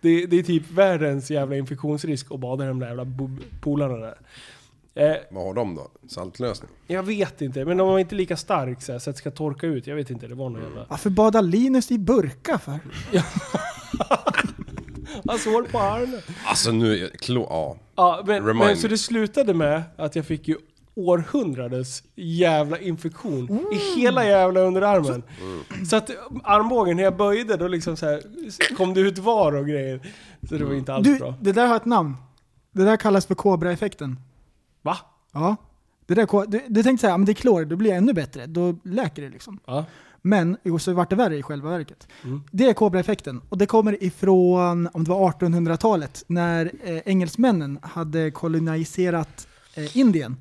det, det är typ världens jävla infektionsrisk att bada i de där jävla bo- polarna där. Eh, Vad har de då? Saltlösning? jag vet inte, men de var inte lika stark så, här, så att det ska torka ut. Jag vet inte, det var någon jävla... Varför badar Linus i burka för? Ah, sår på armen. Alltså nu, klo, ja. Ja, men, Remind men me. så det slutade med att jag fick ju århundradets jävla infektion Mm. i hela jävla underarmen. Så att eh, armbågen, när jag böjde, då liksom så här, kom det ut var och grejer. Så det var inte alls Du, bra. det där har ett namn. Det där kallas för kobraeffekten. Va? Ja. Det där, ko- du, du tänkte säga, men det är klor, då blir det ännu bättre. Då läker det liksom. Ja. Men jo, så vart det värre i själva verket. Det är kobraeffekten. Och det kommer ifrån, om det var 1800-talet, när eh, engelsmännen hade koloniserat eh, Indien.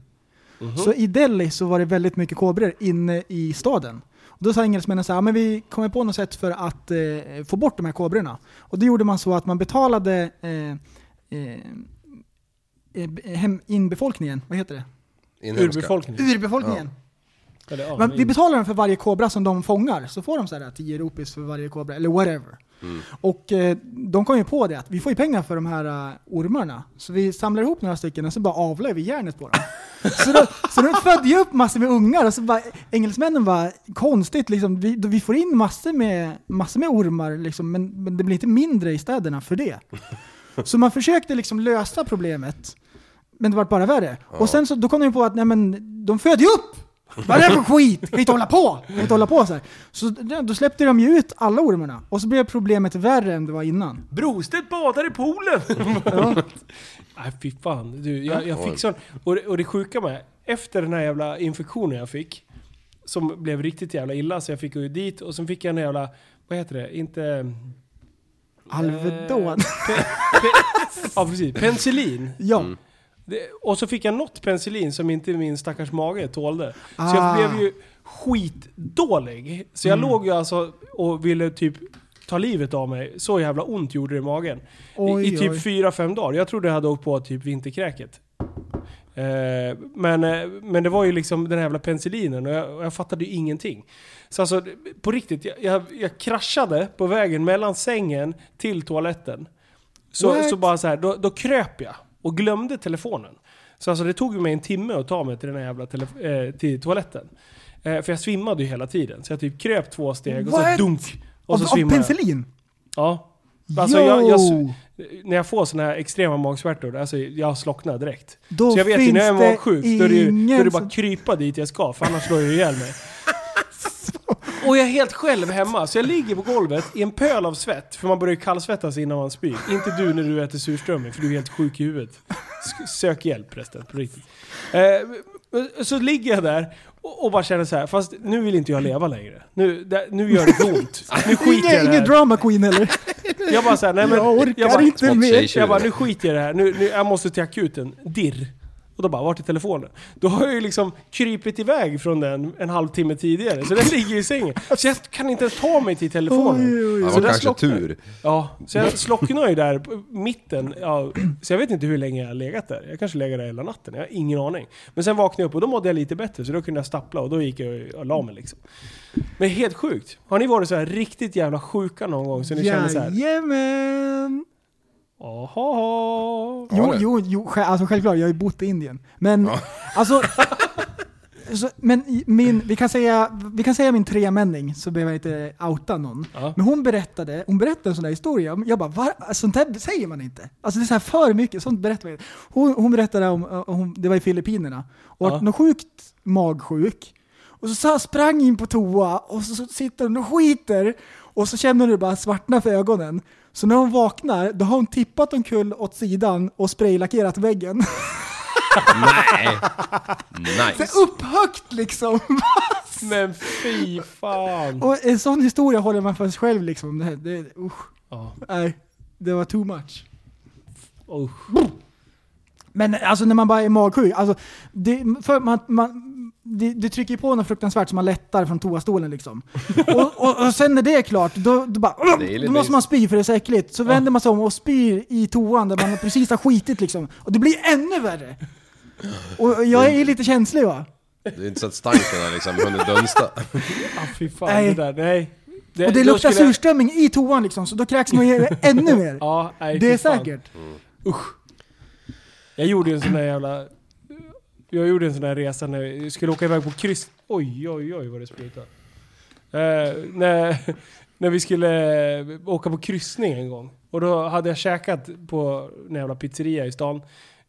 Så i Delhi så var det väldigt mycket kobror inne i staden. Och då sa engelsmännen så här, "Ja, men vi kommer på något sätt för att eh, få bort de här kobrorna. Och det gjorde man så att man betalade eh, eh, eh, hem, inbefolkningen, vad heter det? Inhemska. Urbefolkningen. Urbefolkningen. Eller, ja, Men in- vi betalar dem för varje kobra som de fångar, så får de så här 10 rupees för varje kobra, eller whatever. Och eh, de kom ju på det att vi får ju pengar för de här eh, ormarna. Så vi samlar ihop några stycken och så bara avlar vi järnet på dem. så, då, så de födde ju upp massor med ungar och så bara, engelsmännen var konstigt liksom, vi, vi får in massor med, massor med ormar liksom, men, men det blir inte mindre i städerna för det. Så man försökte liksom lösa problemet, men det var bara värre. Och sen så då kom de ju på att nej, men, de föder ju upp! Vad är det här för skit? Kan vi inte hålla på! Kan vi inte hålla på så här. Så d- då släppte de ju ut alla ormarna. Och så blev problemet värre än det var innan. Brostedt badar i poolen! Nej fy fan. Du, jag, jag fick sån... Och, det- och det sjuka med, efter den här jävla infektionen jag fick, som blev riktigt jävla illa, så jag fick gå dit och sen fick jag en jävla... Vad heter det? Inte... Eh. Alvedon. Ja precis, penicillin. ja. Det, och så fick jag något penicillin som inte min stackars mage tålde. Så jag Ah. Mm. blev ju skitdålig. Så jag låg ju alltså och ville typ ta livet av mig. Så jävla ont gjorde det i magen. I, Oj, I typ oj. 4-5 dagar. Jag trodde jag hade åkt på typ vinterkräket. Eh, men, eh, men det var ju liksom den här jävla penicillinen och jag, och jag fattade ju ingenting. Så alltså, det- på riktigt, jag, jag, jag kraschade på vägen mellan sängen till toaletten. Så, What? så bara så här, då, då kröp jag och glömde telefonen. Så alltså det tog ju mig en timme att ta mig till den här jävla telef- eh, till toaletten. Eh, för jag svimmade ju hela tiden. Så jag typ kröp två steg och What? så dunk. Och Av, så av svimmade jag. penicillin? Ja. Alltså jag, jag, Jo! när jag får såna här extrema magsmärtor, alltså jag slocknar direkt. Då så jag vet ju när jag finns är det magsjuk, då är det ju då är det ingen bara som- krypa dit jag ska, för annars slår jag ju ihjäl mig. Och jag är helt själv hemma, så jag ligger på golvet i en pöl av svett, för man börjar ju kallsvettas innan man spyr. Inte du när du äter surströmming, för du är helt sjuk i huvudet. S- Sök hjälp förresten, på riktigt. Eh, så ligger jag där och, och bara känner så här, fast nu vill inte jag leva längre. Nu, det, nu gör det ont. Nu skiter jag i Ingen, det ingen här. drama queen eller? Jag bara såhär, nej men... Jag orkar bara, inte Smått mer. tjej. jag bara, nu skiter jag i det här. Nu, nu, jag måste till akuten. Dirr. Och då bara, vart är telefonen? Då har jag ju liksom krypit iväg från den en halvtimme tidigare. Så den ligger i sängen. Så jag kan inte ens ta mig till telefonen. Oj, oj, Det oj. Så var där kanske slocknar- tur. Ja, så jag slocknade ju där på mitten. Ja, så jag vet inte hur länge jag har legat där. Jag kanske legat där hela natten. Jag har ingen aning. Men sen vaknade jag upp och då mådde jag lite bättre. Så då kunde jag stappla och då gick jag och la mig liksom. Men helt sjukt. Har ni varit så här riktigt jävla sjuka någon gång? Så ni känner så här, Jajamän! Jaha. Har Jo, det? jo, jo, sj- alltså självklart, jag har ju bott i Indien. Men alltså... Så, men i- min, vi, kan säga, vi kan säga min tremänning, så behöver jag inte outa någon. Ja. Men hon berättade, hon berättade en sån där historia. Jag bara, var, sånt där säger man inte. Alltså det är så här för mycket, sånt berättar man inte. Hon, hon berättade om, eh, hon, det var i Filippinerna, och Ja. att någon sjukt magsjuk. Och så, sa- sprang in på toa och så, så sitter hon och skiter. Och så känner du bara svartna för ögonen. Så när hon vaknar, då har hon tippat omkull åt sidan och spraylackerat väggen. Nej! Så Nice! upphögt liksom! Men fy fan. Och en sån historia håller man för sig själv liksom. Det, det, usch, Ja, nej, det var too much. usch. Men alltså när man bara är magsjuk, alltså, det, för man, man, det, det trycker ju på något fruktansvärt så man lättar från toastolen liksom. och, och, och sen när det är klart, då, då, bara, är lite då måste man spy för det är så äckligt. Så vänder man sig om och spyr i toan där man precis har skitit liksom. Och det blir ännu värre! Och jag är lite känslig va? Det är inte så att stanken har liksom hunnit dunsta. Ah, fy fan Nej. det där. Nej. Och det då luktar skulle jag- surströmming i toan liksom, så då kräks man ju ännu mer. Ja, nej, fy Det är fan. säkert. Usch. Jag gjorde ju en sån där jävla... Jag gjorde en sån där resa när jag skulle åka iväg på kryss... Oj, oj, oj vad det sprutade. Eh, när, när vi skulle eh, åka på kryssning en gång. Och då hade jag käkat på en jävla pizzeria i stan.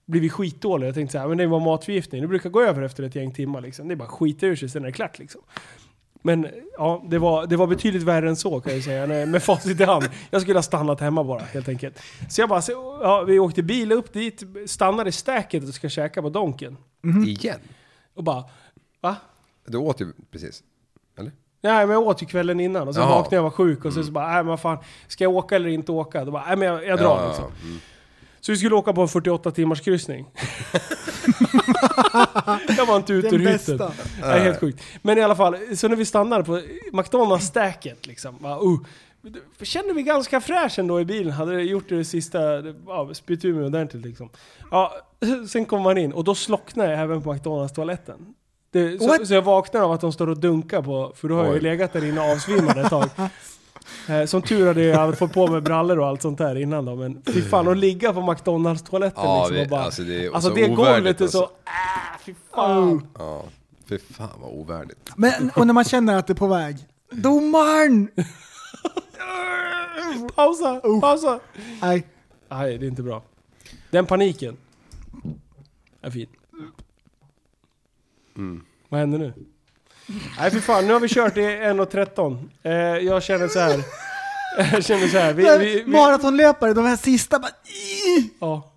Blivit skitdålig. Jag tänkte så här, men det var matförgiftning. Det brukar gå över efter ett gäng timmar liksom. Det är bara att skita ur sig, sen är det klart liksom. Men ja, det var, det var betydligt värre än så kan jag säga, när- med facit i hand. Jag skulle ha stannat hemma bara, helt enkelt. Så jag bara, så, ja, vi åkte bil upp dit, stannade i stäket och ska käka på Donken. Igen? Och bara, va? Du åt ju precis. Eller? Nej men jag åt ju kvällen innan och sen Jaha. vaknade jag och var sjuk och sen så bara, nej men vad fan, ska jag åka eller inte åka? Då bara, nej men jag, jag drar liksom. Så vi skulle åka på en 48 timmars kryssning. jag var inte ute Den ur hytten. bästa. Det är helt sjukt. Men i alla fall, så när vi stannade på McDonalds-stäket liksom. Bara, uh, kände vi ganska fräsch ändå i bilen. Hade gjort det sista, ja, spytt ur mig ordentligt liksom. Ja, sen kom man in och då slocknade jag även på McDonalds-toaletten. Det, så, What? så jag vaknar av att de står och dunkar på, för då har jag ju Oj. legat där inne avsvimmad ett tag. Eh, Som tur hade jag fått på mig brallor och allt sånt där innan då, men fy fan att ligga på McDonalds-toaletten Ja, liksom och det- bara... alltså, det är alltså så det golvet ovärdigt, är så... alltså. Ah, fy fan! Ja. Fy fan vad ovärdigt. Men, och när man känner att det är på väg. Domaren! Pausa! Pausa! Nej. Nej, det är inte bra. Den paniken. Är fin. Vad händer nu? Mm. Nej för fan, nu har vi kört i 1.13. Eh, jag känner så här. Jag känner så här. Vi, vi, vi, Maratonlöpare, de här sista bara... ja.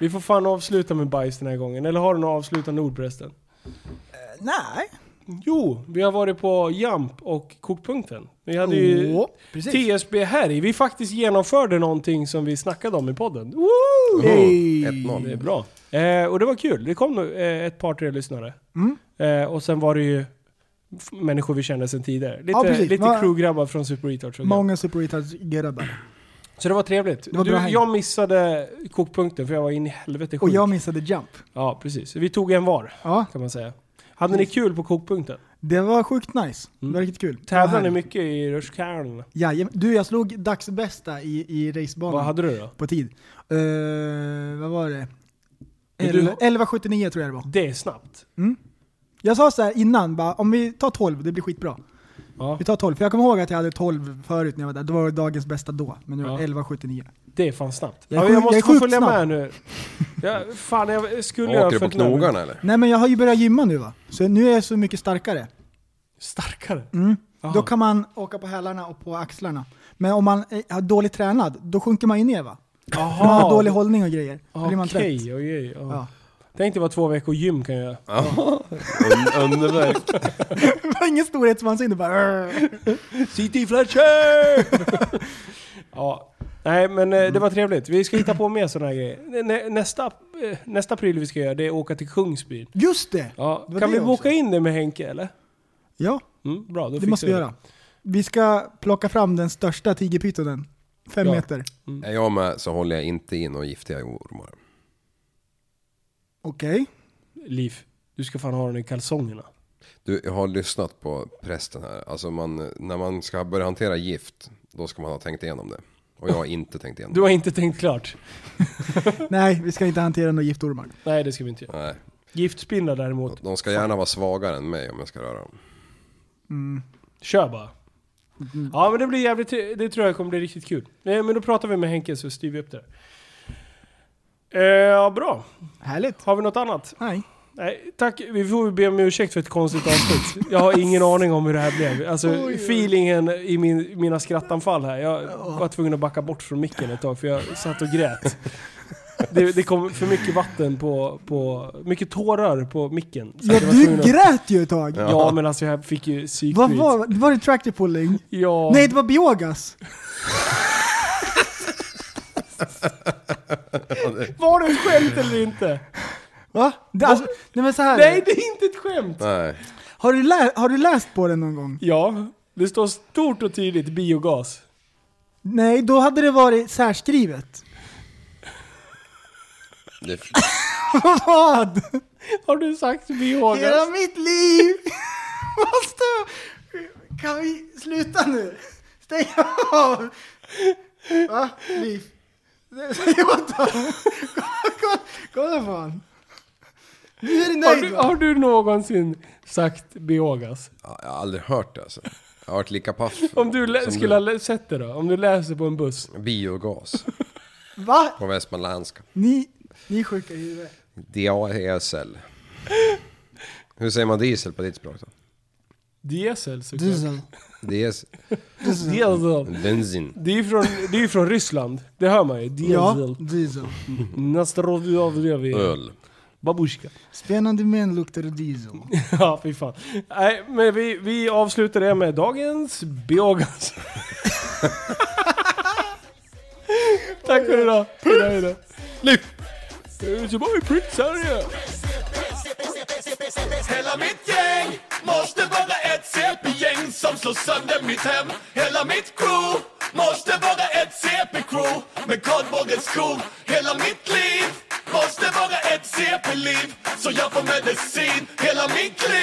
vi får fan avsluta med bajs den här gången. Eller har du några avslutande ord förresten? Nej. Jo, vi har varit på Jump och Kokpunkten. Vi hade ju Ja, precis. TSB här i. Vi faktiskt genomförde någonting som vi snackade om i podden. Woo! Hey. Det är Mm. 1-0. bra. Eh, och det var kul. Det kom nu, eh, ett par, tre lyssnare. Mm. Eh, och sen var det ju f- människor vi kände sedan tidigare. Lite, Ja, precis. lite Va- crewgrabbar från Super Retards. och grejer. Många super retards grabbar. Så det var trevligt. var du, bra häng. jag missade kokpunkten för jag var in i helvete Och sjuk. jag missade jump. Ja, precis. Vi tog en var, Ja, kan man säga. Hade ni kul på kokpunkten? det var sjukt nice. Det var riktigt kul. Tävlade Mm. ni mycket i rutschkanorna? Jajamän. Du, jag slog dagsbästa i, i Vad racebanan hade du då? på tid. Eh, vad var det? du- 11- 1179 tror jag det var. Det är snabbt. Jag sa så här innan, bara, om vi tar 12, det blir skitbra. Ja, Vi tar 12, för jag kommer ihåg att jag hade 12 förut när jag var där. Det var dagens bästa då, men nu är Ja. det 1179. det är fan snabbt. Jag är Jag, ja, jag sjuk- måste jag är få sjukt följa med snabb. nu. Jag, fan, jag skulle jag Åker du på följt med nu. knogarna eller? Nej men jag har ju börjat gymma nu va, så nu är jag så mycket starkare. Mm. Starkare? Jaha. Då kan man åka på hälarna och på axlarna. Men om man är dåligt tränad, då sjunker man ju ner va? Om Man har dålig hållning och grejer. Då blir man Okej, trött. oj, oj, oj. Ja. Tänk dig vad två veckor gym kan göra. Un- Underverk. Det var ingen storhetsvansinne bara... "Arr." CT Fletcher! ja. Nej men eh, Mm. det var trevligt. Vi ska hitta på mer sådana här grejer. Nä- Nästa, eh, nästa pryl vi ska göra det är att åka till Kungsbyn. Just det! Ja. Det var Kan det vi också. boka in det med Henke eller? Ja, Mm, bra, då det fixar måste vi göra. Vi ska plocka fram den största tigerpytonen. Fem Ja. meter. Mm. Är jag med så håller jag inte in och giftiga ormar. Okej. Liv, du ska fan ha den i kalsongerna. Du, jag har lyssnat på prästen här. Alltså man, när man ska börja hantera gift, då ska man ha tänkt igenom det. Och jag har inte tänkt igenom Du det. har inte tänkt klart? Nej, vi ska inte hantera några giftormar. Nej det ska vi inte göra. Nej, Giftspindlar däremot, de ska gärna vara svagare än mig om jag ska röra dem. kör bara. Mm-hmm. Ja men det blir jävligt, det tror jag kommer bli riktigt kul. Nej, men då pratar vi med Henke så styr vi upp det. Eh, Ja bra, Härligt. har vi något annat? Nej. Nej, tack. Vi får be om ursäkt för ett konstigt avsnitt. Jag har ingen aning om hur det här blev. Alltså feelingen i min, mina skrattanfall här. Jag var tvungen att backa bort från micken ett tag för jag satt och grät. Det, det kom för mycket vatten på, på... Mycket tårar på micken. Så Ja, jag var du tvungen att- grät ju ett tag. Ja men alltså jag fick ju Vad psykbryt. var, var det tractor pulling? Ja. Nej, det var biogas. Var det ett skämt eller inte? Va? Det, alltså, nej men så här. Nej det är inte ett skämt! Nej, Har, du lä- har du läst på den någon gång? Ja, det står stort och tydligt biogas. Nej, då hade det varit särskrivet. det, Vad? Har du sagt biogas? Hela mitt liv! Måste... Kan vi sluta nu? Stäng av! Va? Liv? Stäng åt honom! Kolla- Kolla på honom! Nu är du Har nöjd du, va? har du någonsin sagt biogas? jag har aldrig hört det alltså. Jag har varit lika paff Om du lä- som skulle ha lä- sett det då? Om du läser på en buss? Biogas Va? på västmanländska. Ni, ni är sjuka i huvudet. Diesel. E Hur säger man diesel på ditt språk då? Diesel såklart. Diesel. Diesel. Diesel. Bensin. Det är ju från, det är ju från Ryssland. Det hör man ju. Ja, Diesel. diesel. Nastrovjavjevi. Öl. Babusjka. Spännande män luktar diesel. Ja, fy fan. Nej, men vi, vi avslutar det med dagens biogas. Tack för idag. Hejdå, hejdå. Lyft! Göteborg, Prince Hela mitt gäng måste vara ett CP-gäng som slår sönder mitt hem Hela mitt crew måste vara ett CP-crew med kardborrens skor Hela mitt liv måste vara ett CP-liv så jag får medicin Hela min klick